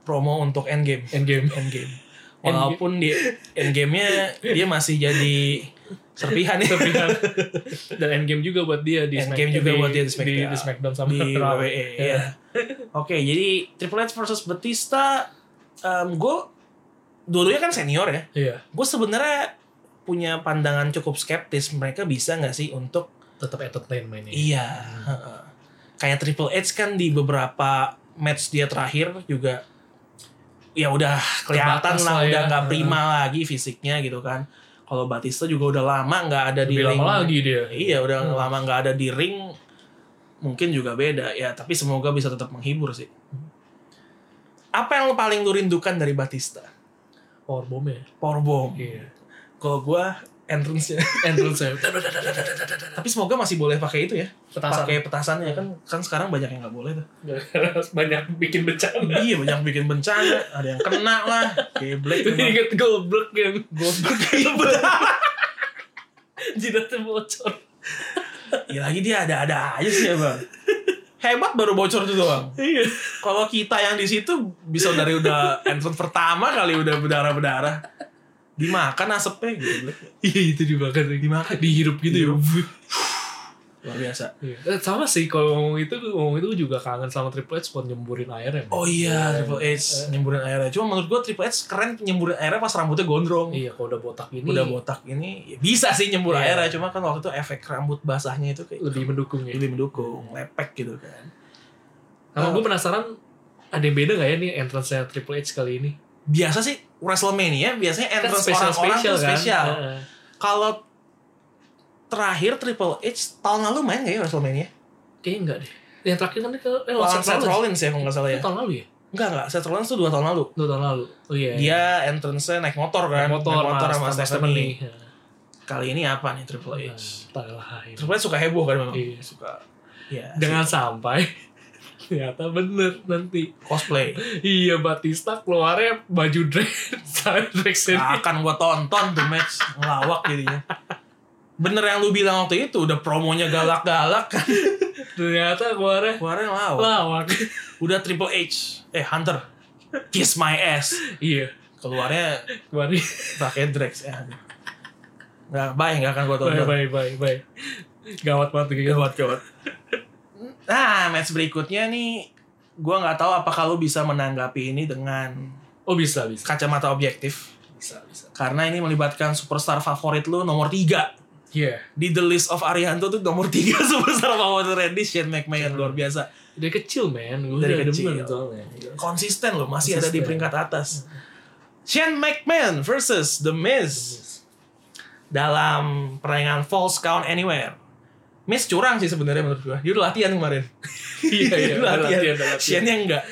Promo untuk Endgame.
Endgame.
Endgame. Walaupun di Endgame-nya dia masih jadi serpihan ya.
Serpihan. Dan Endgame juga buat dia di
Endgame
Smack-
juga
di-
buat dia di
Di,
Smackdown.
Smackdown sama
di
Raw.
WWE
Iya.
ya. Oke, jadi Triple H versus Batista em gue dulunya kan senior ya.
Iya.
Gue sebenarnya punya pandangan cukup skeptis mereka bisa nggak sih untuk
Tetap entertain mainnya.
iya heeh. kayak Triple H kan di beberapa match dia terakhir juga ya udah kelihatan
Terbatas
lah,
lah ya.
udah nggak prima lagi fisiknya gitu kan. Kalau Batista juga udah lama nggak ada di
Lebih
ring.
lama lagi dia.
Iya udah
Hmm.
lama nggak ada di ring mungkin juga beda ya tapi semoga bisa tetap menghibur sih. Apa yang lo paling lu rindukan dari Batista?
Powerbomb ya.
Powerbomb.
Iya.
Kalau gua entrance-nya.
Entrance ya.
tapi semoga masih boleh pakai itu ya.
Petasan.
Pakai petasannya kan kan sekarang banyak yang nggak boleh tuh.
Gara-gara banyak bikin bencana.
iya banyak bikin bencana, ada yang kena lah. Geblek.
Ini
emang.
inget goblok yang
Goblok. Iya,
jidatnya bocor.
Ya lagi dia ada-ada aja sih ya, Bang. Hebat baru bocor tuh doang.
Iya.
Kalau kita yang di situ bisa dari udah entrance pertama kali udah berdarah-berdarah. Dimakan asapnya gitu.
Iya itu dimakan.
Dimakan.
Dihirup gitu ya.
Luar biasa.
Iya. Eh, Sama sih kalau ngomong itu ngomong itu juga kangen sama Triple H buat nyemburin airnya.
Oh iya, Triple H
Eh.
nyemburin airnya. Cuma menurut gua Triple H keren nyemburin airnya pas rambutnya gondrong.
Iya, kalau udah botak ini
Udah botak ini ya bisa sih nyembur
Iya.
airnya, cuma kan waktu itu efek rambut basahnya itu kayak
lebih mendukung ya.
lebih mendukung, lepek gitu kan.
Sama gue penasaran ada yang beda gak ya nih entrance nya Triple H kali ini?
Biasa sih WrestleMania biasanya
Kan
entrance orang-orang tuh spesial.
Heeh.
Kalau terakhir Triple H tahun lalu main gak ya WrestleMania?
Kayaknya enggak deh. Yang terakhir kan dia ke eh, lawan
Lawan
Seth
Seth
Rollins.
Rollins ya kalau nggak salah ya.
Itu tahun lalu ya?
Enggak enggak, Seth Rollins tuh 2 tahun lalu.
Dua tahun lalu. Oh iya.
Dia entrance-nya naik motor kan,
motor,
naik motor sama,
Mas-
Stephanie.
Stephanie.
Kali ini apa nih Triple
Heeh.
H?
Entah lah, ini.
Triple H suka heboh kan memang.
Iya.
Suka ya
Jangan sampai ternyata bener nanti.
cosplay.
Iya Batista keluarnya baju dress saya dress
Nggak akan gua tonton the match ngelawak jadinya. Bener yang lu bilang waktu itu udah promonya galak-galak kan.
ternyata keluarnya
Keluarnya ngelawak.
lawak.
Udah Triple H, eh Hunter. Kiss my ass.
iya
Keluarnya
kemarin.
pakai Drex ya. Nggak, bye, nggak akan gua
Bye
tonton.
bye bye bye. Gawat banget gitu.
Gawat, gawat. Nah, match berikutnya nih, gua nggak tahu apakah lu bisa menanggapi ini dengan
Oh bisa bisa
kacamata objektif.
bisa bisa.
Karena ini melibatkan superstar favorit lu nomor 3.
Iya.
Di the list of Arihanto tuh nomor 3 superstar favorit Randy, Shane McMahon. Luar biasa.
Dari kecil men, gue
Dari
udah
kecil.
demen soalnya.
Konsisten loh, masih ada di
Konsisten.
peringkat atas. Shane McMahon versus The Miz. dalam persaingan false count anywhere. Miss curang sih sebenarnya menurut gua. Dia udah latihan kemarin.
Iya iya.
dia udah latihan. Shane yang enggak.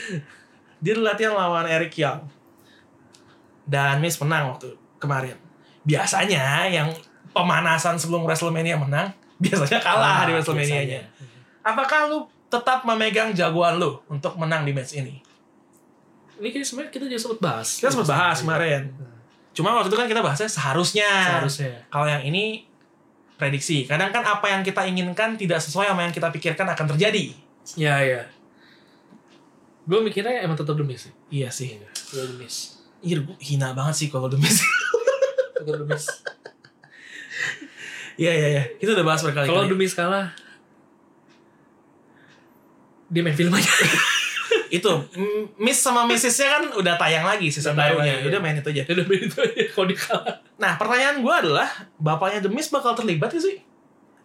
Dia udah latihan lawan Eric Young. Dan Miss menang waktu kemarin. Biasanya yang pemanasan sebelum WrestleMania menang, biasanya
Ah,
kalah di WrestleMania-nya. Apakah lu tetap memegang jagoan lu untuk menang di match ini? Iya.
Ini kayaknya sebenarnya kita juga sempat bahas. Iya,
Kita sempat bahas kemarin. Cuma waktu itu kan kita bahasnya seharusnya.
Seharusnya.
Kalau yang ini prediksi. Kadang kan apa yang kita inginkan tidak sesuai sama yang kita pikirkan akan terjadi.
Iya iya. Gue mikirnya emang tetap demi sih.
Iya sih.
Gue demis.
Iya, gua hina banget sih kalau demis.
Tetap demis.
Iya, iya, iya. Kita udah bahas berkali-kali.
Kalau demi skala dia main film aja.
itu mm, Miss sama Missesnya kan udah tayang lagi season
Udah tayang
barunya.
lagi,
Udah main itu aja.
Dia udah main itu aja kalau dia kalah.
Nah, pertanyaan gue adalah bapaknya demis bakal terlibat gak sih?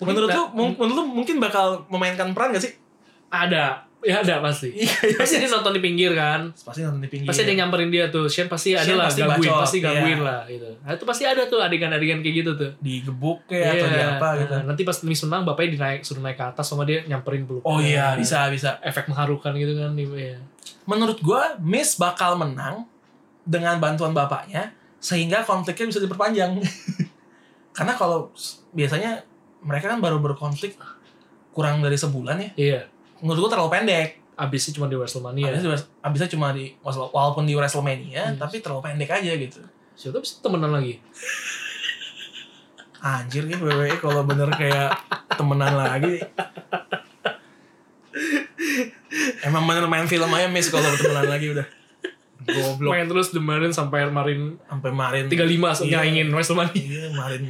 Mungkin
menurut
tak-
lu, mung- menurut lu mungkin bakal memainkan peran gak sih?
Ada. Ya ada pasti.
Iya,
Pasti dia nonton di pinggir kan.
Pasti nonton di pinggir.
Pasti ada yang nyamperin dia tuh. Shane pasti ada
Shane
lah
pasti
gangguin,
bacot,
pasti gangguin
iya.
lah gitu. Nah, itu pasti ada tuh adegan-adegan kayak gitu tuh.
digebuk ya atau di
Iya.
apa gitu.
Nah, nanti pas Miss menang bapaknya dinaik suruh naik ke atas sama dia nyamperin Nah, peluk.
Oh iya, bisa bisa.
Efek mengharukan gitu kan iya.
Menurut gua Miss bakal menang dengan bantuan bapaknya sehingga konfliknya bisa diperpanjang. Karena kalau s- biasanya mereka kan baru berkonflik kurang dari sebulan ya.
Iya.
Menurut gua terlalu pendek.
Abisnya cuma di
Abisnya,
Wrestlemania.
cuma- abisnya cuma di walaupun di Wrestlemania
Yes.
tapi terlalu pendek aja gitu.
Siapa bisa temenan lagi?
Anjir nih WWE kalau bener kayak temenan lagi. Emang bener main film aja miss kalau temenan lagi udah. Goblok
Main terus demarin sampai kemarin
sampai
Hmm.
kemarin
35
Iya.
nyaingin Wrestlemania.
Iya, kemarin.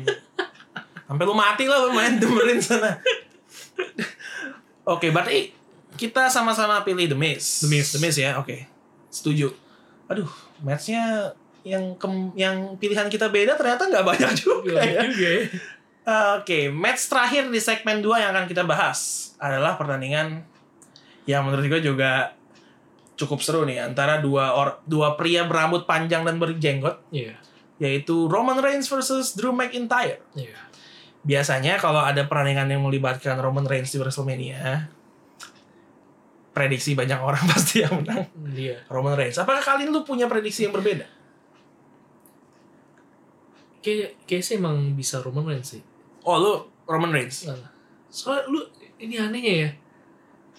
Sampai lu mati lah lu main demerin sana. Oke, berarti kita sama-sama pilih The Miz.
The Miz.
ya, oke. Setuju. Aduh, matchnya yang kem- yang pilihan kita beda ternyata nggak banyak juga ya.
Gila juga ya.
Oke, match terakhir di segmen 2 yang akan kita bahas adalah pertandingan yang menurut gue juga cukup seru nih antara dua or- dua pria berambut panjang dan berjenggot
Iya.
yaitu Roman Reigns versus Drew McIntyre.
Iya.
Biasanya kalau ada pertandingan yang melibatkan Roman Reigns di WrestleMania, prediksi banyak orang pasti yang menang
Iya.
Roman Reigns. Apakah kalian lu punya prediksi yang berbeda?
Kayak kayak sih emang bisa Roman Reigns sih.
Oh, lu Roman Reigns.
Nah, soalnya lu ini anehnya ya.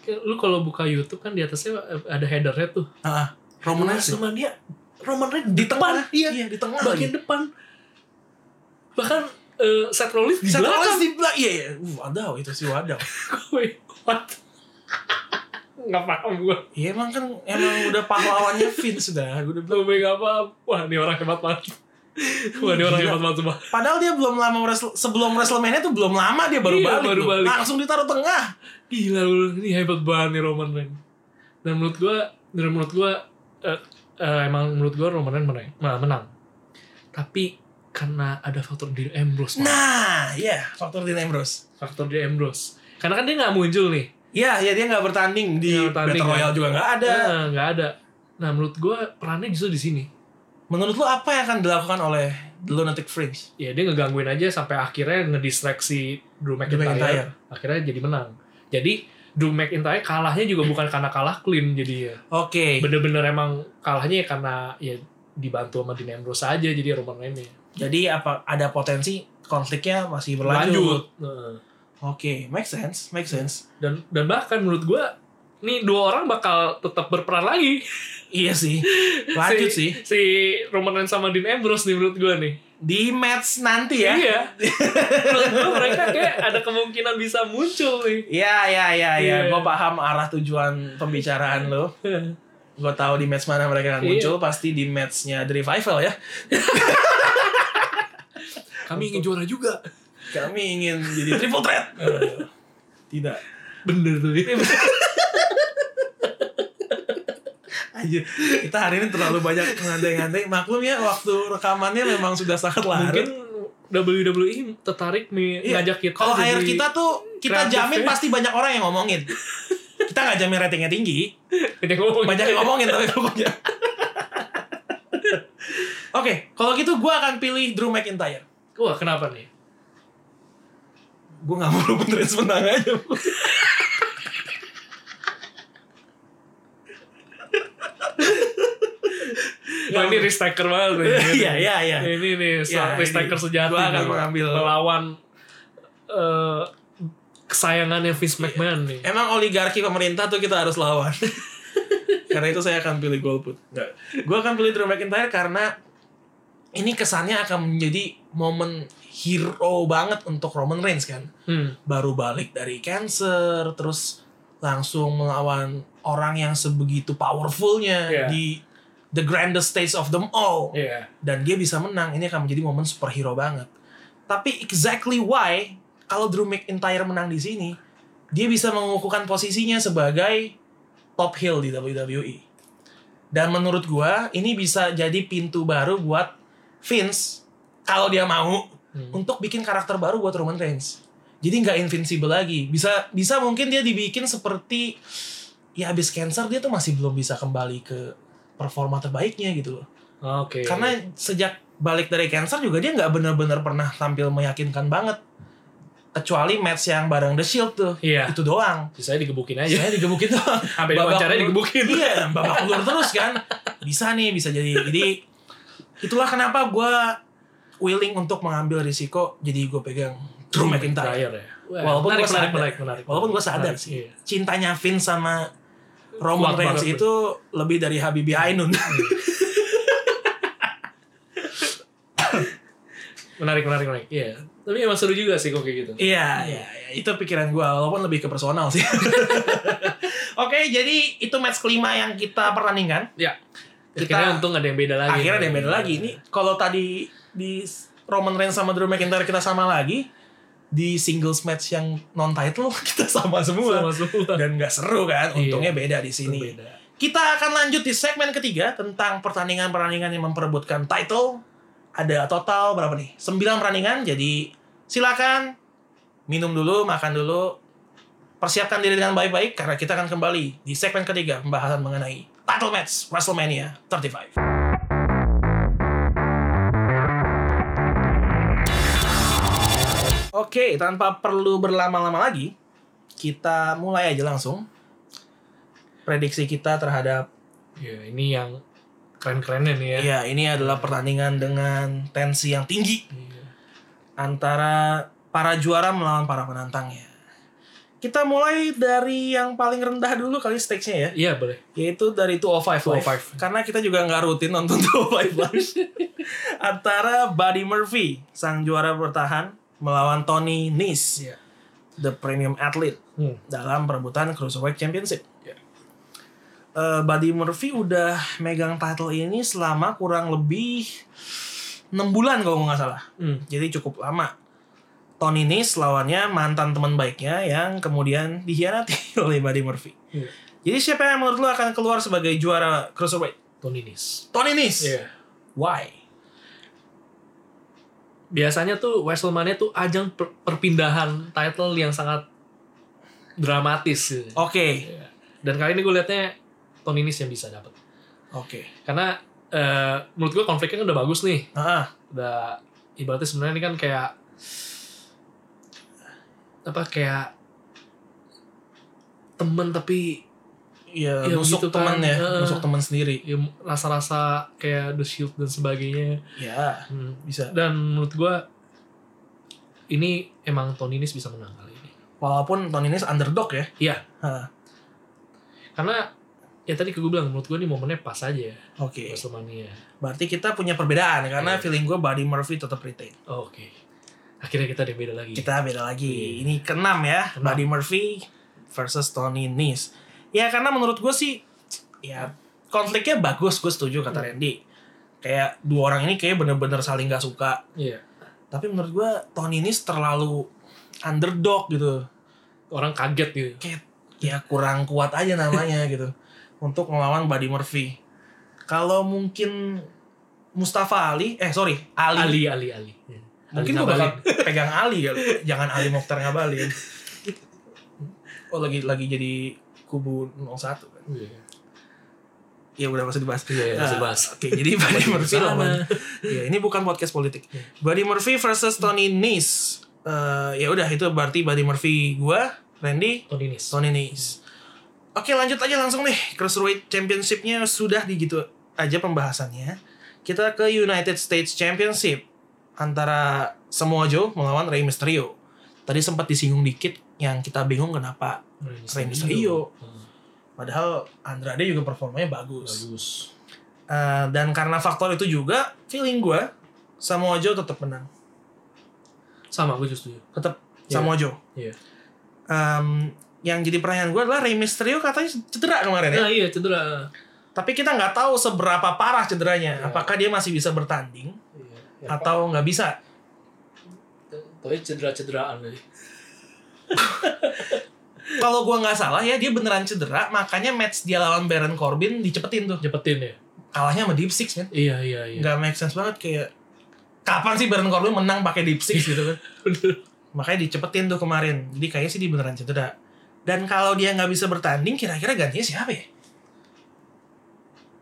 Kayak Lu kalau buka YouTube kan di atasnya ada headernya tuh.
Ah, Roman Reigns.
Cuman dia Roman Reigns
Di
di
tengah,
depan, iya,
di tengah lagi.
bagian depan. Bahkan eh, Seth Rollins di
Seth Rollins
belakang.
di belakang. Iya, iya. Uh, wadaw itu si wadaw.
Wih, what? Nggak paham gue.
Iya emang kan emang udah pahlawannya Vince sudah. Gua udah bilang.
Gue nggak paham. Wah, ini orang hebat banget. Wah, ini orang
Gila.
hebat banget sumpah.
Padahal dia belum lama wrestle- sebelum WrestleMania tuh belum lama dia baru
Iya,
balik.
baru
loh.
balik.
Langsung ditaruh tengah.
Gila lu, ini hebat banget nih Roman Reigns. Dan menurut gue, dan menurut gue, eh, eh, emang menurut gue Roman Reigns menang. Nah, menang. Tapi karena ada faktor di Ambrose. Bang.
Nah, iya, faktor Dean Ambrose.
Faktor di Ambrose. Karena kan dia nggak muncul nih.
Iya, ya dia nggak bertanding di
Nggak bertanding,
Battle
kan?
Royale juga nggak ada.
Nah, nggak ada. Nah, menurut gue perannya justru di sini.
Menurut lu apa yang akan dilakukan oleh The Lunatic Fringe?
ya dia ngegangguin aja sampai akhirnya ngedistraksi
Drew
Drew McIntyre,
McIntyre.
akhirnya jadi menang jadi Drew McIntyre kalahnya juga bukan karena kalah clean jadi ya
Oke,
bener-bener emang kalahnya ya karena ya dibantu sama Dean Ambrose aja jadi Roman Reigns ya.
jadi apa ada potensi konfliknya masih berlanjut?
Heeh.
Oke, make sense, make sense.
dan dan bahkan menurut gua nih dua orang bakal tetap berperan lagi
Iya sih, lanjut
si,
sih
si Roman Reigns sama Dean Ambrose nih menurut gua nih
di match nanti ya.
iya menurut gua mereka kayak ada kemungkinan bisa muncul nih
Iya, iya, iya, iya.
Iya.
Gue paham arah tujuan pembicaraan lo. Gue tahu di match mana mereka akan
Iya.
muncul, pasti di matchnya The Revival ya.
kami ingin juara juga
Kami ingin jadi triple threat.
Iya.
Tidak.
bener tuh
Anjir, kita hari ini terlalu banyak ngandai-ngandai. Maklum ya, waktu rekamannya memang sudah sangat
mungkin
larut.
WWE tertarik nih
Iya,
ngajak kita
Kalau
jadi-
air kita tuh, kita
kreatif
jamin
ya.
pasti banyak orang yang ngomongin. Kita nggak jamin ratingnya tinggi,
ngajak ngomong
banyak yang ngomongin tapi pokoknya. Oke, kalau gitu gue akan pilih Drew McIntyre.
wah kenapa nih
Gue nggak mau lu benerin menang aja.
wah ini risk taker banget nih
Iya, iya, iya.
ini nih
Ya,
risk
ini.
taker sejati
Gua akan
nih.
mengambil.
melawan eh, kesayangannya
Iya.
Vince McMahon nih
Emang oligarki pemerintah tuh kita harus lawan. karena itu saya akan pilih golput. Nggak. Gue akan pilih Drew McIntyre karena ini kesannya akan menjadi momen hero banget untuk Roman Reigns kan.
hmm.
Baru balik dari cancer, terus langsung melawan orang yang sebegitu powerfulnya
Iya.
di the grandest stage of them all
iya
dan dia bisa menang ini akan menjadi momen superhero banget tapi exactly why kalau Drew McIntyre menang di sini dia bisa mengukuhkan posisinya sebagai top heel di WWE dan menurut gua ini bisa jadi pintu baru buat Vince kalau dia mau
Hmm.
untuk bikin karakter baru buat Roman Reigns jadi nggak invincible lagi bisa bisa mungkin dia dibikin seperti ya abis cancer dia tuh masih belum bisa kembali ke performa terbaiknya gitu loh
oke
karena sejak balik dari cancer juga dia nggak bener-bener pernah tampil meyakinkan banget kecuali match yang bareng The Shield tuh
Iya.
itu doang
bisa digebukin aja
saya digebukin doang
sampai
Babak
wawancaranya
belur-
digebukin
iya babak belur terus kan bisa nih bisa jadi jadi itulah kenapa gue willing untuk mengambil risiko jadi gue pegang Drew McIntyre
Pryor ya. Wah,
Walaupun gua
menarik, menarik,
sadar.
menarik, menarik.
Walaupun gua sadar
Menarik,
sih.
iya.
cintanya Vince sama Roman
Kuat
Reigns
banget,
itu lebih dari Habibie Ainun
Menarik, menarik, menarik. Iya. Tapi emang seru juga sih kok kayak gitu.
Iya, iya, iya. itu pikiran gue, walaupun lebih ke personal sih. Oke, jadi itu match kelima yang kita pertandingan.
Ya.
Kita-
Akhirnya untung ada yang beda lagi.
Akhirnya ada yang beda lagi. Ini kalau tadi di Roman Reigns sama Drew McIntyre kita sama lagi, di singles match yang non title kita sama semua.
Sama semua.
Dan nggak seru kan? Untungnya beda di sini.
Beda.
Kita akan lanjut di segmen ketiga tentang pertandingan-pertandingan yang memperebutkan title. Ada total berapa nih? 9 pertandingan. Jadi silakan minum dulu, makan dulu. Persiapkan diri dengan baik-baik karena kita akan kembali di segmen ketiga pembahasan mengenai title match WrestleMania 35. Oke, tanpa perlu berlama-lama lagi, kita mulai aja langsung prediksi kita terhadap
Iya, ini yang keren-kerennya nih ya.
Iya, ini adalah pertandingan dengan tensi yang tinggi
Iya.
antara para juara melawan para penantangnya. Kita mulai dari yang paling rendah dulu kali stakesnya ya,
Iya, boleh.
yaitu dari 205 Live.
205.
Karena kita juga nggak rutin nonton 205 Live. antara Buddy Murphy, sang juara bertahan, melawan Tony Nese,
Iya.
the premium athlete
Hmm.
dalam perebutan Cruiserweight Championship.
Ya.
Eh, Buddy Murphy udah megang title ini selama kurang lebih 6 bulan kalau nggak salah.
Hmm.
Jadi cukup lama. Tony Nese lawannya mantan teman baiknya yang kemudian dikhianati oleh Buddy Murphy.
Iya.
Jadi siapa yang menurut lo akan keluar sebagai juara Cruiserweight?
Tony Nis.
Tony Nese.
Iya.
Why?
Biasanya tuh WrestleMania tuh ajang per- perpindahan title yang sangat dramatis. gitu.
Oke.
Iya. Dan kali ini gue liatnya Tony Nis yang bisa dapat.
Oke.
Karena eh, menurut gue konfliknya kan udah bagus nih.
Heeh.
udah ibaratnya sebenarnya ini kan kayak apa kayak temen tapi
Iya,
Iya,
nusuk
begitu
teman
kan.
ya,
Heeh.
nusuk teman sendiri.
ya, rasa-rasa kayak the shield dan sebagainya
Ya,
Hmm.
bisa.
dan menurut gua ini emang Tony Nis bisa menang kali ini
Walaupun Tony Nese underdog ya.
Iya.
Heeh.
karena ya tadi gue bilang menurut gua ini momennya pas aja ya,
Oke.
Wrestlemania
Berarti kita punya perbedaan karena
Iya.
feeling gue Buddy Murphy tetap retain.
Oh, oke akhirnya kita ada yang beda lagi
Kita beda lagi.
Iya.
Ini keenam ya,
Keenam.
Buddy Murphy versus Tony Nese. Ya karena menurut gue sih, ya konfliknya bagus. Gue setuju
Iya.
kata Randy. Kayak dua orang ini kayak bener-bener saling gak suka.
Iya.
Tapi menurut gue Tony Nese terlalu underdog gitu.
orang kaget gitu
kayak ya kurang kuat aja namanya gitu untuk melawan Buddy Murphy. Kalau mungkin Mustafa Ali, eh sorry Ali,
Ali Ali Ali Iya.
mungkin
Ali
gue bakal
Ngabalin.
pegang Ali kali. Jangan Ali Mokhtar Ngabalin. Oh lagi lagi jadi kubu 01 kan.
Iya.
Ya udah masih dibahas.
Iya, iya, masih
Nah,
bahas.
Oke, jadi Buddy Murphy
Sana.
lawan. Ya, ini bukan podcast politik. Buddy Murphy versus Tony Nese. Eh, ya udah itu berarti Buddy Murphy gua, Randy,
Tony Nis
Sony Nice. Oke lanjut aja langsung nih Cruiserweight Championship-nya sudah di gitu aja pembahasannya. Kita ke United States Championship antara Samoa Joe melawan Rey Mysterio. Tadi sempat disinggung dikit yang kita bingung kenapa Rey Mysterio.
Hmm.
Padahal Andrade juga performanya bagus.
bagus
Eh, dan karena faktor itu juga feeling gue Samoa Joe tetap menang.
sama gue justru
Tetap
Iya.
Samoa Joe.
Iya.
Em, yang jadi pertanyaan gue adalah Rey Mysterio katanya cedera kemarin ya.
nah iya cedera
Tapi kita nggak tahu seberapa parah cederanya.
Iya.
Apakah dia masih bisa bertanding
iya.
atau nggak bisa?
tapi cedera-cederaan kali
Kalau gua nggak salah ya dia beneran cedera. Makanya match dia lawan Baron Corbin dicepetin tuh.
jepetin ya
Kalahnya sama Deep Six kan?
iya iya iya
Nggak make sense banget kayak kapan sih Baron Corbin menang pakai Deep Six gitu kan? Makanya dicepetin tuh kemarin. Jadi kayaknya sih dia beneran cedera. Dan kalau dia nggak bisa bertanding, kira-kira gantinya siapa ya?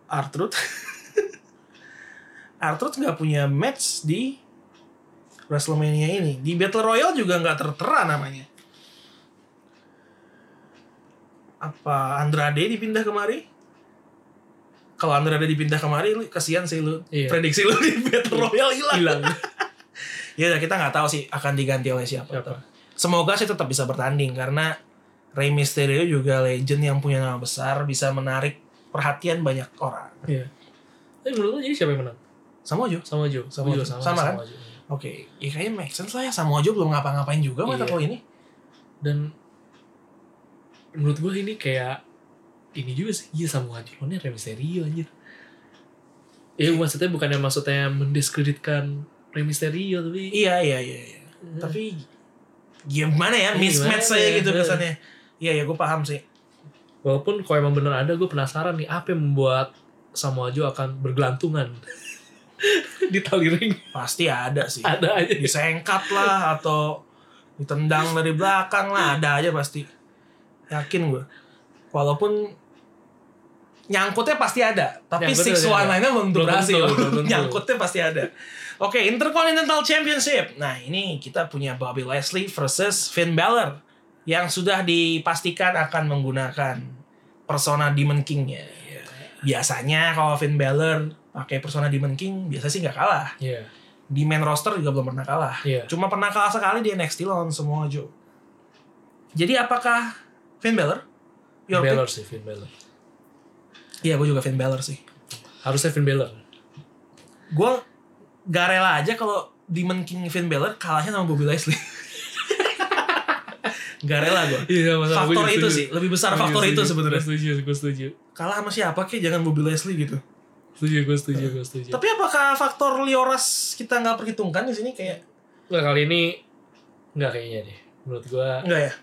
Artrud. Artrud nggak punya match di WrestleMania ini. Di Battle Royale juga nggak tertera namanya. Apa Andrade dipindah kemari? kalau Andrade dipindah kemari lu kasihan sih lu
Iya.
prediksi lu di Battle Royale hilang
hilang
ya udah, kita nggak tahu sih akan diganti oleh siapa,
Siapa?
Tuh. semoga sih tetap bisa bertanding karena Rey Mysterio juga legend yang punya nama besar bisa menarik perhatian banyak orang
Iya. Tapi menurut lo jadi siapa yang menang?
sama aja
Sama Joe.
Sama
Gua juga
Joe. Sama kan?
Joe.
oke ya kayaknya make sense lah ya sama aja belum ngapa-ngapain juga masa
Iya.
kalau ini
Dan menurut gue ini kayak ini juga sih. Iya sama Joe. Ini Rey Mysterio anjir. Ya maksudnya bukannya maksudnya mendiskreditkan Rey Mysterio tapi
iya iya iya, iya. tapi gimana ya
Iya,
mismatch
Hmm. gimana
saya
ya?
gitu kesannya iya ya gue paham sih
walaupun kalau emang bener ada gue penasaran nih apa yang membuat Samoa Joe akan bergelantungan di tali ring
pasti ada sih
ada aja
disengkat lah atau ditendang dari belakang lah ada aja pasti yakin gue walaupun nyangkutnya pasti ada tapi
Nyangkutnya
six
pasti
one
ada.
lainnya belum tentu
Belum
berhasil
tentu, belum tentu.
nyangkutnya pasti ada oke Intercontinental Championship nah ini kita punya Bobby Leslie versus Finn Balor yang sudah dipastikan akan menggunakan persona Demon King-nya
Iya.
biasanya kalau Finn Balor pakai persona Demon King biasa sih nggak kalah
Iya.
di main roster juga belum pernah kalah.
Iya.
Cuma pernah kalah sekali di NXT lawan semua Joe. Jadi apakah Finn Balor? Your pick?
Balor sih Finn Balor
Iya, gue juga Finn Balor sih.
harusnya Finn Balor
Gue gak rela aja kalau Demon King Finn Balor kalahnya sama Bobby Leslie. gak rela gue.
Iya, sama-sama. Gua
Faktor
juga
itu
setuju.
sih, lebih besar
Gua juga
faktor itu
setuju.
sebenarnya.
Gua setuju, gue setuju.
Kalah sama siapa kek jangan Bobby Leslie gitu.
Setuju, gue setuju, gue setuju.
Tapi apakah faktor Lioras kita nggak perhitungkan di sini kayak
Nggak, kali ini nggak kayaknya deh. Menurut gue
enggak ya?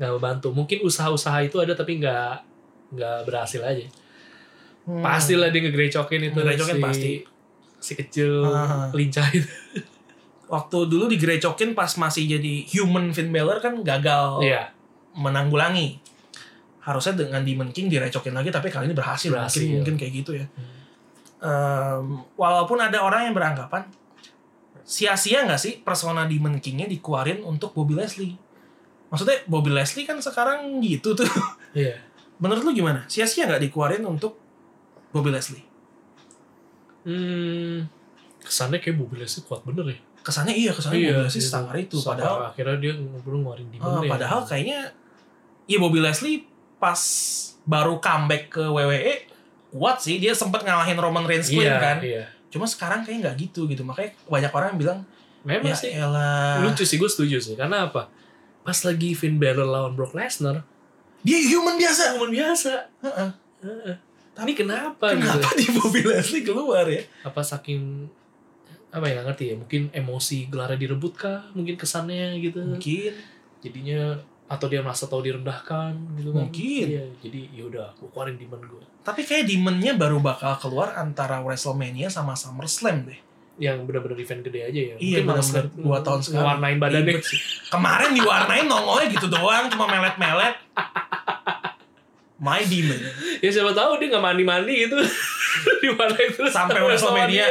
nggak membantu. Mungkin usaha-usaha itu ada tapi nggak nggak berhasil aja.
Hmm.
Pastilah dia ngegrecokin itu
Ngegrecokin
si,
pasti.
si kecil
Ah.
lincah itu.
waktu dulu digrecokin pas masih jadi human Finn Balor kan gagal
Iya,
menanggulangi. Harusnya dengan Demon King direcokin lagi tapi kali ini berhasil.
Berhasil.
Mungkin, mungkin kayak gitu ya. Em, walaupun ada orang yang beranggapan sia-sia nggak sih persona Demon King-nya dikeluarin untuk Bobby Leslie. Maksudnya Bobby Leslie kan sekarang gitu tuh.
iya.
Menurut lu gimana? Sia-sia nggak dikeluarin untuk Bobby Leslie?
Hmm, kesannya kayak Bobby Leslie kuat bener ya.
Kesannya iya, kesannya Bobby Leslie
gitu.
setanggar itu.
Sampai
Padahal
akhirnya dia ngobrol ngeluarin di
Ah, padahal kayaknya ya Bobby Leslie pas baru comeback ke WWE kuat sih dia sempat ngalahin Roman Reigns Queen
iya,
kan.
Iya.
Cuma sekarang kayaknya nggak gitu gitu makanya banyak orang yang bilang
Memang
ya
sih
elah
lucu sih gue setuju sih karena apa pas lagi Finn Balor lawan Brock Lesnar
dia human biasa.
teman biasa
Heeh.
Heeh. tapi kenapa, gitu
Kenapa di Bobby Leslie keluar ya?
apa saking apa ya nggak ngerti ya mungkin emosi gelarnya direbut kah mungkin kesannya gitu
Mungkin
jadinya atau dia merasa tahu direndahkan gitu kan
Mungkin.
Iya, jadi yaudah gue keluarin demon gue
tapi kayak Demon-nya baru bakal keluar antara WrestleMania sama SummerSlam deh.
yang benar-benar event gede aja ya
Iya,
malah
benar-benar
nge-
dua tahun sekali.
ngewarnain badannya
Ribet Kemarin diwarnain nongolnya gitu doang, cuma melet-melet. My Demon.
ya siapa tahu dia nggak mandi-mandi gitu diwarnain terus
Sampai
sama
WrestleMania.
dia.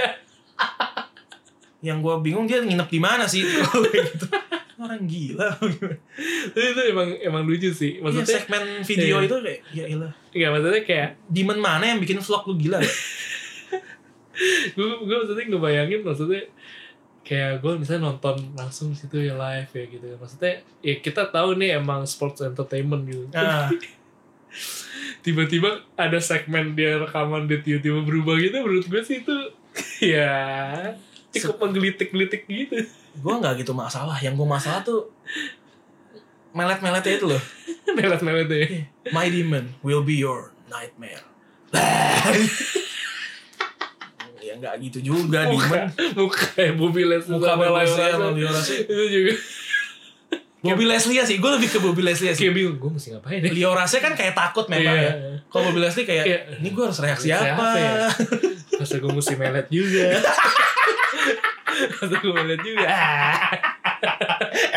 yang gue bingung dia nginep di mana sih Kalau kayak gitu. orang gila
Tapi itu emang emang lucu
Iya,
sih maksudnya
segmen video
Iya.
itu kayak ya ilah
nggak maksudnya kayak
demon mana yang bikin vlog lu gila ya?
gue gue maksudnya ngebayangin maksudnya kayak gue misalnya nonton langsung situ ya live ya gitu maksudnya ya kita tahu nih emang sports entertainment gitu
Ah,
tiba-tiba ada segmen dia rekaman dia tiba-tiba berubah gitu menurut gue sih itu ya cukup menggelitik-gelitik gitu
gue nggak gitu masalah yang gue masalah tuh melet meletnya itu loh
melet-melet ya
my demon will be your nightmare ya nggak gitu juga
muka
demon
muka ya Bobby Leslie
Muka
sama
Bobby Leslie
Leo
sama Leo
Larsen.
Larsen.
itu juga
Bobby Leslie ya sih gue lebih ke Bobby Leslie ya sih
kayak bingung gue mesti ngapain ya
Leo Rasnya kan kayak takut memang
Iya.
ya kalau Bobby Leslie kayak
Iya.
ini gue harus reaksi
Reaksi
apa
apa ya? masa gue mesti melet juga masa gue melet juga Ah.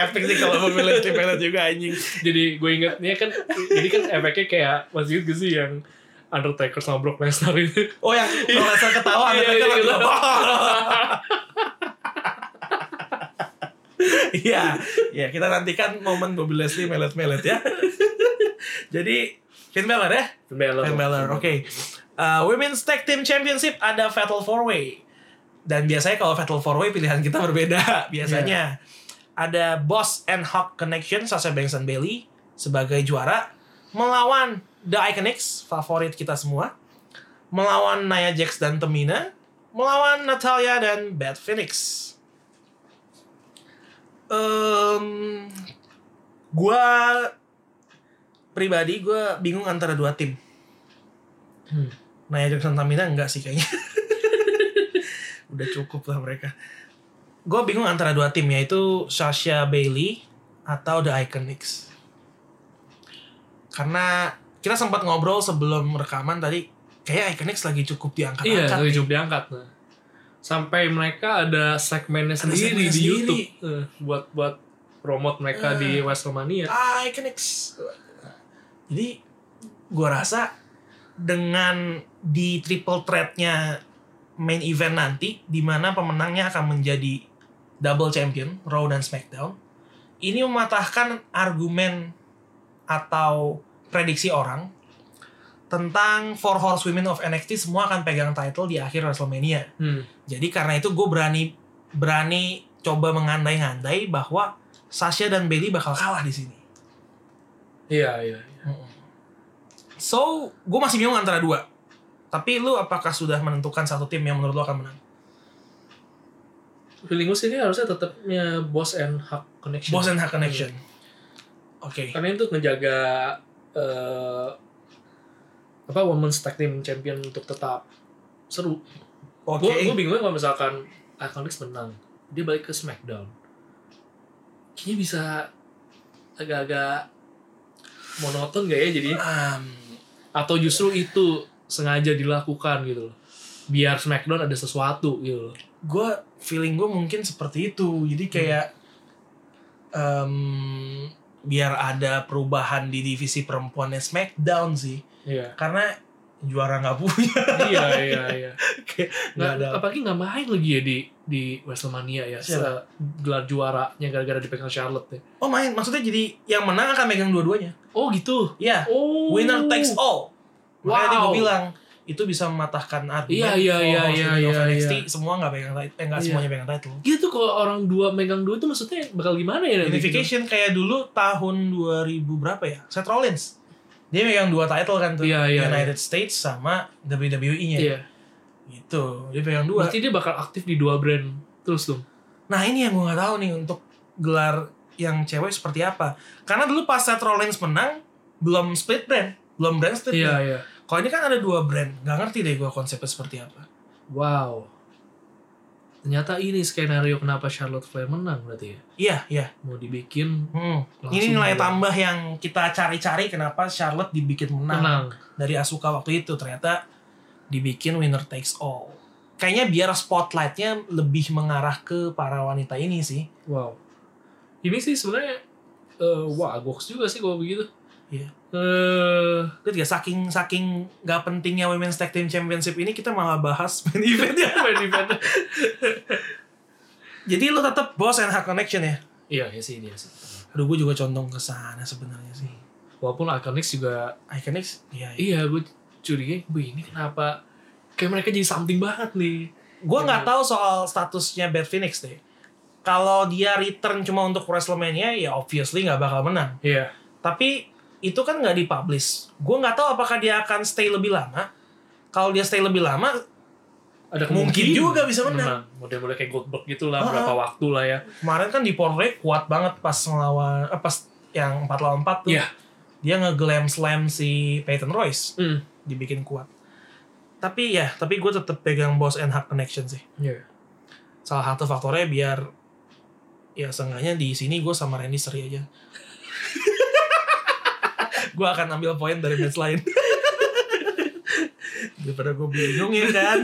efek sih kalau Bobby Leslie pelet juga anjing
jadi gue ingetnya kan jadi kan efeknya kayak masih gitu sih yang Undertaker sama Brock Lesnar itu
Oh yang merasa ketawa ada
Iya,
mereka
iya,
lagi
iya.
Iya, ya kita nantikan momen Bobby Leslie melet-melet ya. Jadi Finn Balor ya,
Finn Balor
Finn Balor. Oke, Eh Uh, Women's Tag Team Championship ada Fatal 4-Way. Dan biasanya kalau Fatal 4-Way pilihan kita berbeda biasanya. Ada Boss and Hawk Connection, Sasha Banks and Bailey sebagai juara. Melawan The Iconics, favorit kita semua. Melawan Nia Jax dan Tamina. Melawan Natalia dan Beth Phoenix. Em, gua pribadi gua bingung antara dua tim.
Hmm.
Naya Jackson Tamina enggak sih kayaknya. Udah cukup lah mereka. Gue bingung antara dua tim yaitu Sasha Bailey atau The Iconics. Karena kita sempat ngobrol sebelum rekaman tadi kayak Iconics lagi cukup
Iya,
diangkat-angkat.
lagi cukup diangkat. Nah. Sampai mereka ada segmennya
Ada
sendiri
segmennya
di
sendiri. Eh.
YouTube eh, buat buat promote mereka di Wrestlemania.
Ah, Iconix. Jadi gua rasa dengan di triple threat-nya main event nanti di mana pemenangnya akan menjadi double champion Raw dan SmackDown. Ini mematahkan argumen atau prediksi orang tentang Four Horsewomen of NXT semua akan pegang title di akhir WrestleMania.
Hmm.
Jadi karena itu gue berani berani coba mengandai-ngandai bahwa Sasha dan Bailey bakal kalah di sini.
Iya, iya. iya.
So, gue masih bingung antara dua. Tapi lu apakah sudah menentukan satu tim yang menurut lu akan menang?
Feeling gue sih ini harusnya tetapnya Boss and Hawk Connection.
Boss and Hart Connection. Oke.
Karena itu ngejaga eh, apa Women's Tag Team Champion untuk tetap seru.
Oke.
Gue gue bingungnya kalau misalkan Iconics menang, dia balik ke SmackDown. Kayaknya bisa agak-agak monoton gak ya jadi?
Um,
Atau justru itu sengaja dilakukan gitu loh. Biar SmackDown ada sesuatu gitu loh.
gue feeling gue mungkin seperti itu. Jadi kayak em, biar ada perubahan di divisi perempuannya SmackDown sih.
Iya.
Karena juara nggak punya.
iya, iya, iya.
Kayak nggak
Nggak,
ada.
apalagi nggak main lagi ya di di Wrestlemania ya.
Siapa?
Se- Gelar juaranya gara-gara dipegang Charlotte ya.
Oh main, maksudnya jadi yang menang akan megang dua-duanya.
Oh gitu.
Iya.
Oh.
Winner takes all. Makanya tadi gue
Wow.
bilang itu bisa mematahkan argumen
Iya, iya,
for
iya,
House
iya,
Win of
iya,
NXT
iya.
semua nggak pegang title, eh, nggak
Iya.
semuanya pegang title.
Gitu kalau orang dua megang dua itu maksudnya bakal gimana ya? nanti gitu?
Unification kayak dulu tahun 2000 berapa ya? Seth Rollins. Dia megang dua title kan tuh.
Iya, iya,
United States sama WWE-nya.
Iya.
Gitu. Dia pegang dua.
Berarti dia bakal aktif di dua brand terus dong.
Nah, ini yang gue nggak tahu nih untuk gelar yang cewek seperti apa. Karena dulu pas Seth Rollins menang belum split brand, belum brand split.
Iya,
brand.
iya.
Kalau ini kan ada dua brand, nggak ngerti deh gue konsepnya seperti apa.
Wow. Ternyata ini skenario kenapa Charlotte Flair menang berarti ya.
Iya, iya.
Mau dibikin
Hmm.
Langsung
Ini nilai
aja.
tambah yang kita cari-cari kenapa Charlotte dibikin menang
menang.
dari Asuka waktu itu ternyata dibikin winner takes all. Kayaknya biar spotlightnya lebih mengarah ke para wanita ini sih.
Wow. Ini sih sebenarnya eh wah goks juga sih kalau begitu.
Iya.
Eh
Itu juga saking saking nggak pentingnya Women's Tag Team Championship ini kita malah bahas main eventnya.
main event.
Jadi lu tetap boss and hard connection ya.
Iya, iya sih dia sih.
Aduh gue juga condong ke sana sebenarnya sih.
Walaupun Iconics juga
Iconics, iya. iya.
iya gue curiga, wih ini kenapa kayak mereka jadi something banget nih.
Gue nggak tahu soal statusnya Bad Phoenix deh. Kalau dia return cuma untuk WrestleMania ya obviously nggak bakal menang.
Iya.
Tapi itu kan nggak dipublish. Gue nggak tahu apakah dia akan stay lebih lama. Kalau dia stay lebih lama,
Ada
Mungkin
kemungkinan
juga bisa menang.
Model-model kayak Goldberg gitu lah,
Ah.
berapa waktu lah ya.
kemarin kan di Portray kuat banget pas ngelawan, eh, pas yang 4 lawan 4 tuh.
Iya.
Dia nge-glam slam si Peyton Royce,
Hmm.
dibikin kuat. Tapi ya, tapi gue tetap pegang Boss and Hard Connection sih.
Iya.
Salah satu faktornya biar ya seenggaknya di sini gue sama Randy seri aja. gue akan ambil poin dari match lain. Daripada gue bingung ya kan.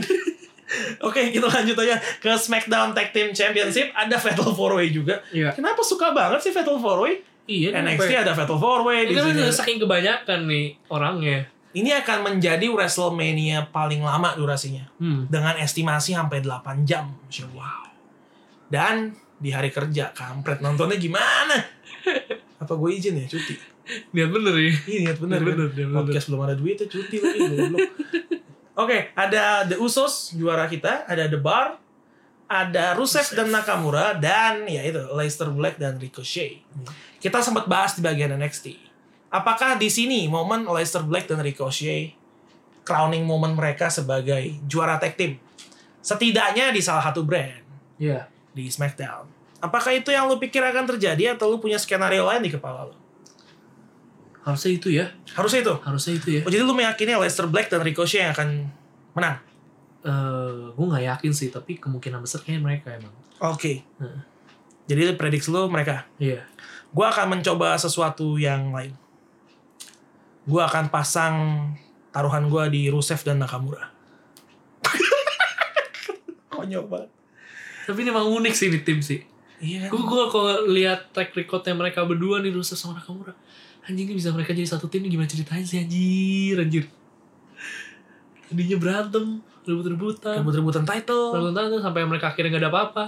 Oke, kita lanjut aja ke SmackDown Tag Team Championship. Ada Fatal 4-Way juga.
Iya.
Kenapa suka banget sih Fatal 4-Way?
Iya.
NXT ada Fatal 4-Way. di
Ini kan
sini ada-
saking kebanyakan nih orangnya.
Ini akan menjadi WrestleMania paling lama durasinya.
Hmm.
dengan estimasi sampai 8 jam. Wow. Dan di hari kerja, kampret nontonnya gimana? Apa gue izin ya cuti?
Lihat bener
Iya
ya.
niat bener,
Niat bener,
kan?
niat bener.
Podcast belum ada duitnya cuti lagi goblok. Oke, ada The Usos juara kita, ada The Bar, ada Rusev dan Nakamura dan ya itu Leicester Black dan Ricochet. Kita sempat bahas di bagian NXT. Apakah di sini momen Leicester Black dan Ricochet crowning momen mereka sebagai juara tag team? Setidaknya di salah satu brand
Iya.
di SmackDown. Apakah itu yang lu pikir akan terjadi atau lu punya skenario lain di kepala lu?
Harusnya itu ya.
Harusnya itu.
Harusnya itu ya.
Oh, jadi lu meyakini Leicester Black dan Ricochet yang akan menang?
Eh, gue nggak yakin sih, tapi kemungkinan besar kayaknya mereka emang.
Oke.
Heeh.
Jadi prediksi lu mereka.
Iya.
Gua akan mencoba sesuatu yang lain. Gua akan pasang taruhan gua di Rusev dan Nakamura. Konyol banget.
Tapi ini emang unik sih di tim sih.
Iya.
Gue gue kalau lihat track recordnya mereka berdua nih Rusev sama Nakamura, anjing ini bisa mereka jadi satu tim ini gimana ceritain sih anjir anjir. Tadinya berantem, rebut-rebutan,
Rebut-rebutan title.
rebut-rebutan tuh sampai mereka akhirnya nggak ada apa-apa.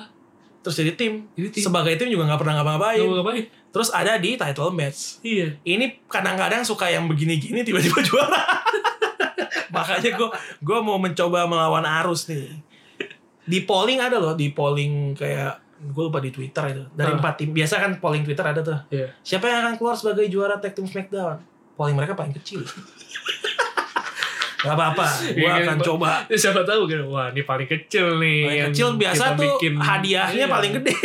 Terus jadi tim.
Jadi tim
Sebagai tim juga nggak pernah
nggak mau
ngapa-ngapain.
ngapain?
Terus ada di title match.
Iya.
ini kadang-kadang suka yang begini-gini tiba-tiba juara. Makanya gue gue mau mencoba melawan arus nih. Di polling ada loh, di polling kayak gue lupa di Twitter itu. Dari
Ah.
empat tim, biasa kan polling Twitter ada tuh.
Iya.
Siapa yang akan keluar sebagai juara tag team SmackDown? Polling mereka paling kecil. Gak apa-apa, gue
Iya, kan,
akan
Pak.
coba.
Ya, siapa tahu kan, wah ini paling kecil nih.
Paling
yang
kecil biasa
kita
tuh
bikin.
hadiahnya
Iya.
paling gede.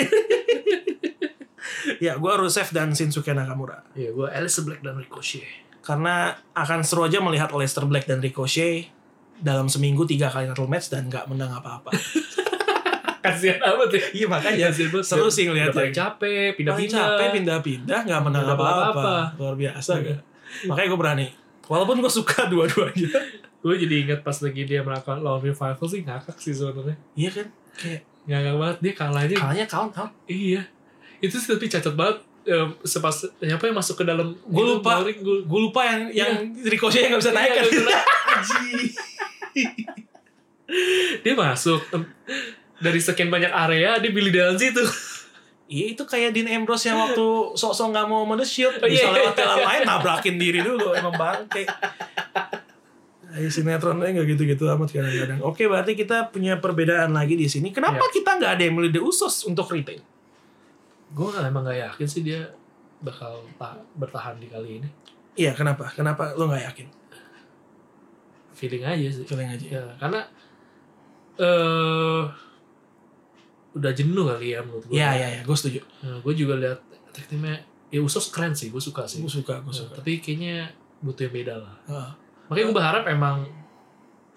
ya, gue Rusev dan Shinsuke Nakamura.
Iya, gue Alice Black dan Ricochet.
karena akan seru aja melihat Leicester Black dan Ricochet dalam seminggu tiga kali title match dan nggak menang apa-apa.
Kasihan amat ya.
iya makanya
Kasihan banget.
seru sih
Udah
ngeliatnya.
paling capek,
ya. Paling
pindah-pindah.
capek pindah-pindah nggak menang
Nggak dapat apa-apa.
apa-apa. Luar biasa
Iya.
kan. Makanya gue berani. Walaupun gue suka dua-duanya.
Gue jadi ingat pas lagi dia melakukan lawan revival sih ngakak sih sebenarnya.
iya kan? Kayak
Ngakak banget dia kalahnya.
kalahnya count count.
Iya. Itu sih tapi cacat banget. Eh, sepas siapa yang masuk ke dalam
Gua
itu,
lupa.
boring, gua,
Gue lupa yang yang Ricochet yang Iya. nggak bisa naik kan.
dia masuk Em, dari sekian banyak area dia pilih dalam situ
Iya itu kayak Dean Ambrose yang waktu sok-sok nggak mau mode shield
Oh, iya,
bisa
iya,
lewat
iya,
jalan
iya.
lain nabrakin diri dulu emang bangke. Ayo sinetronnya nggak gitu-gitu amat kadang-kadang. Oke berarti kita punya perbedaan lagi di sini. Kenapa kita nggak ada yang milih The Usos untuk retain?
gue emang gak yakin sih dia bakal ta- bertahan di kali ini
Iya kenapa? Kenapa lo nggak yakin?
feeling aja sih
Feeling aja.
ya karena eh udah jenuh kali ya menurut gue
Iya iya iya gue setuju.
gue juga lihat tag teamnya ya usos keren sih gue suka sih
Gue suka gue
Nah,
suka.
tapi kayaknya butuh yang beda lah
Heeh.
makanya gue berharap emang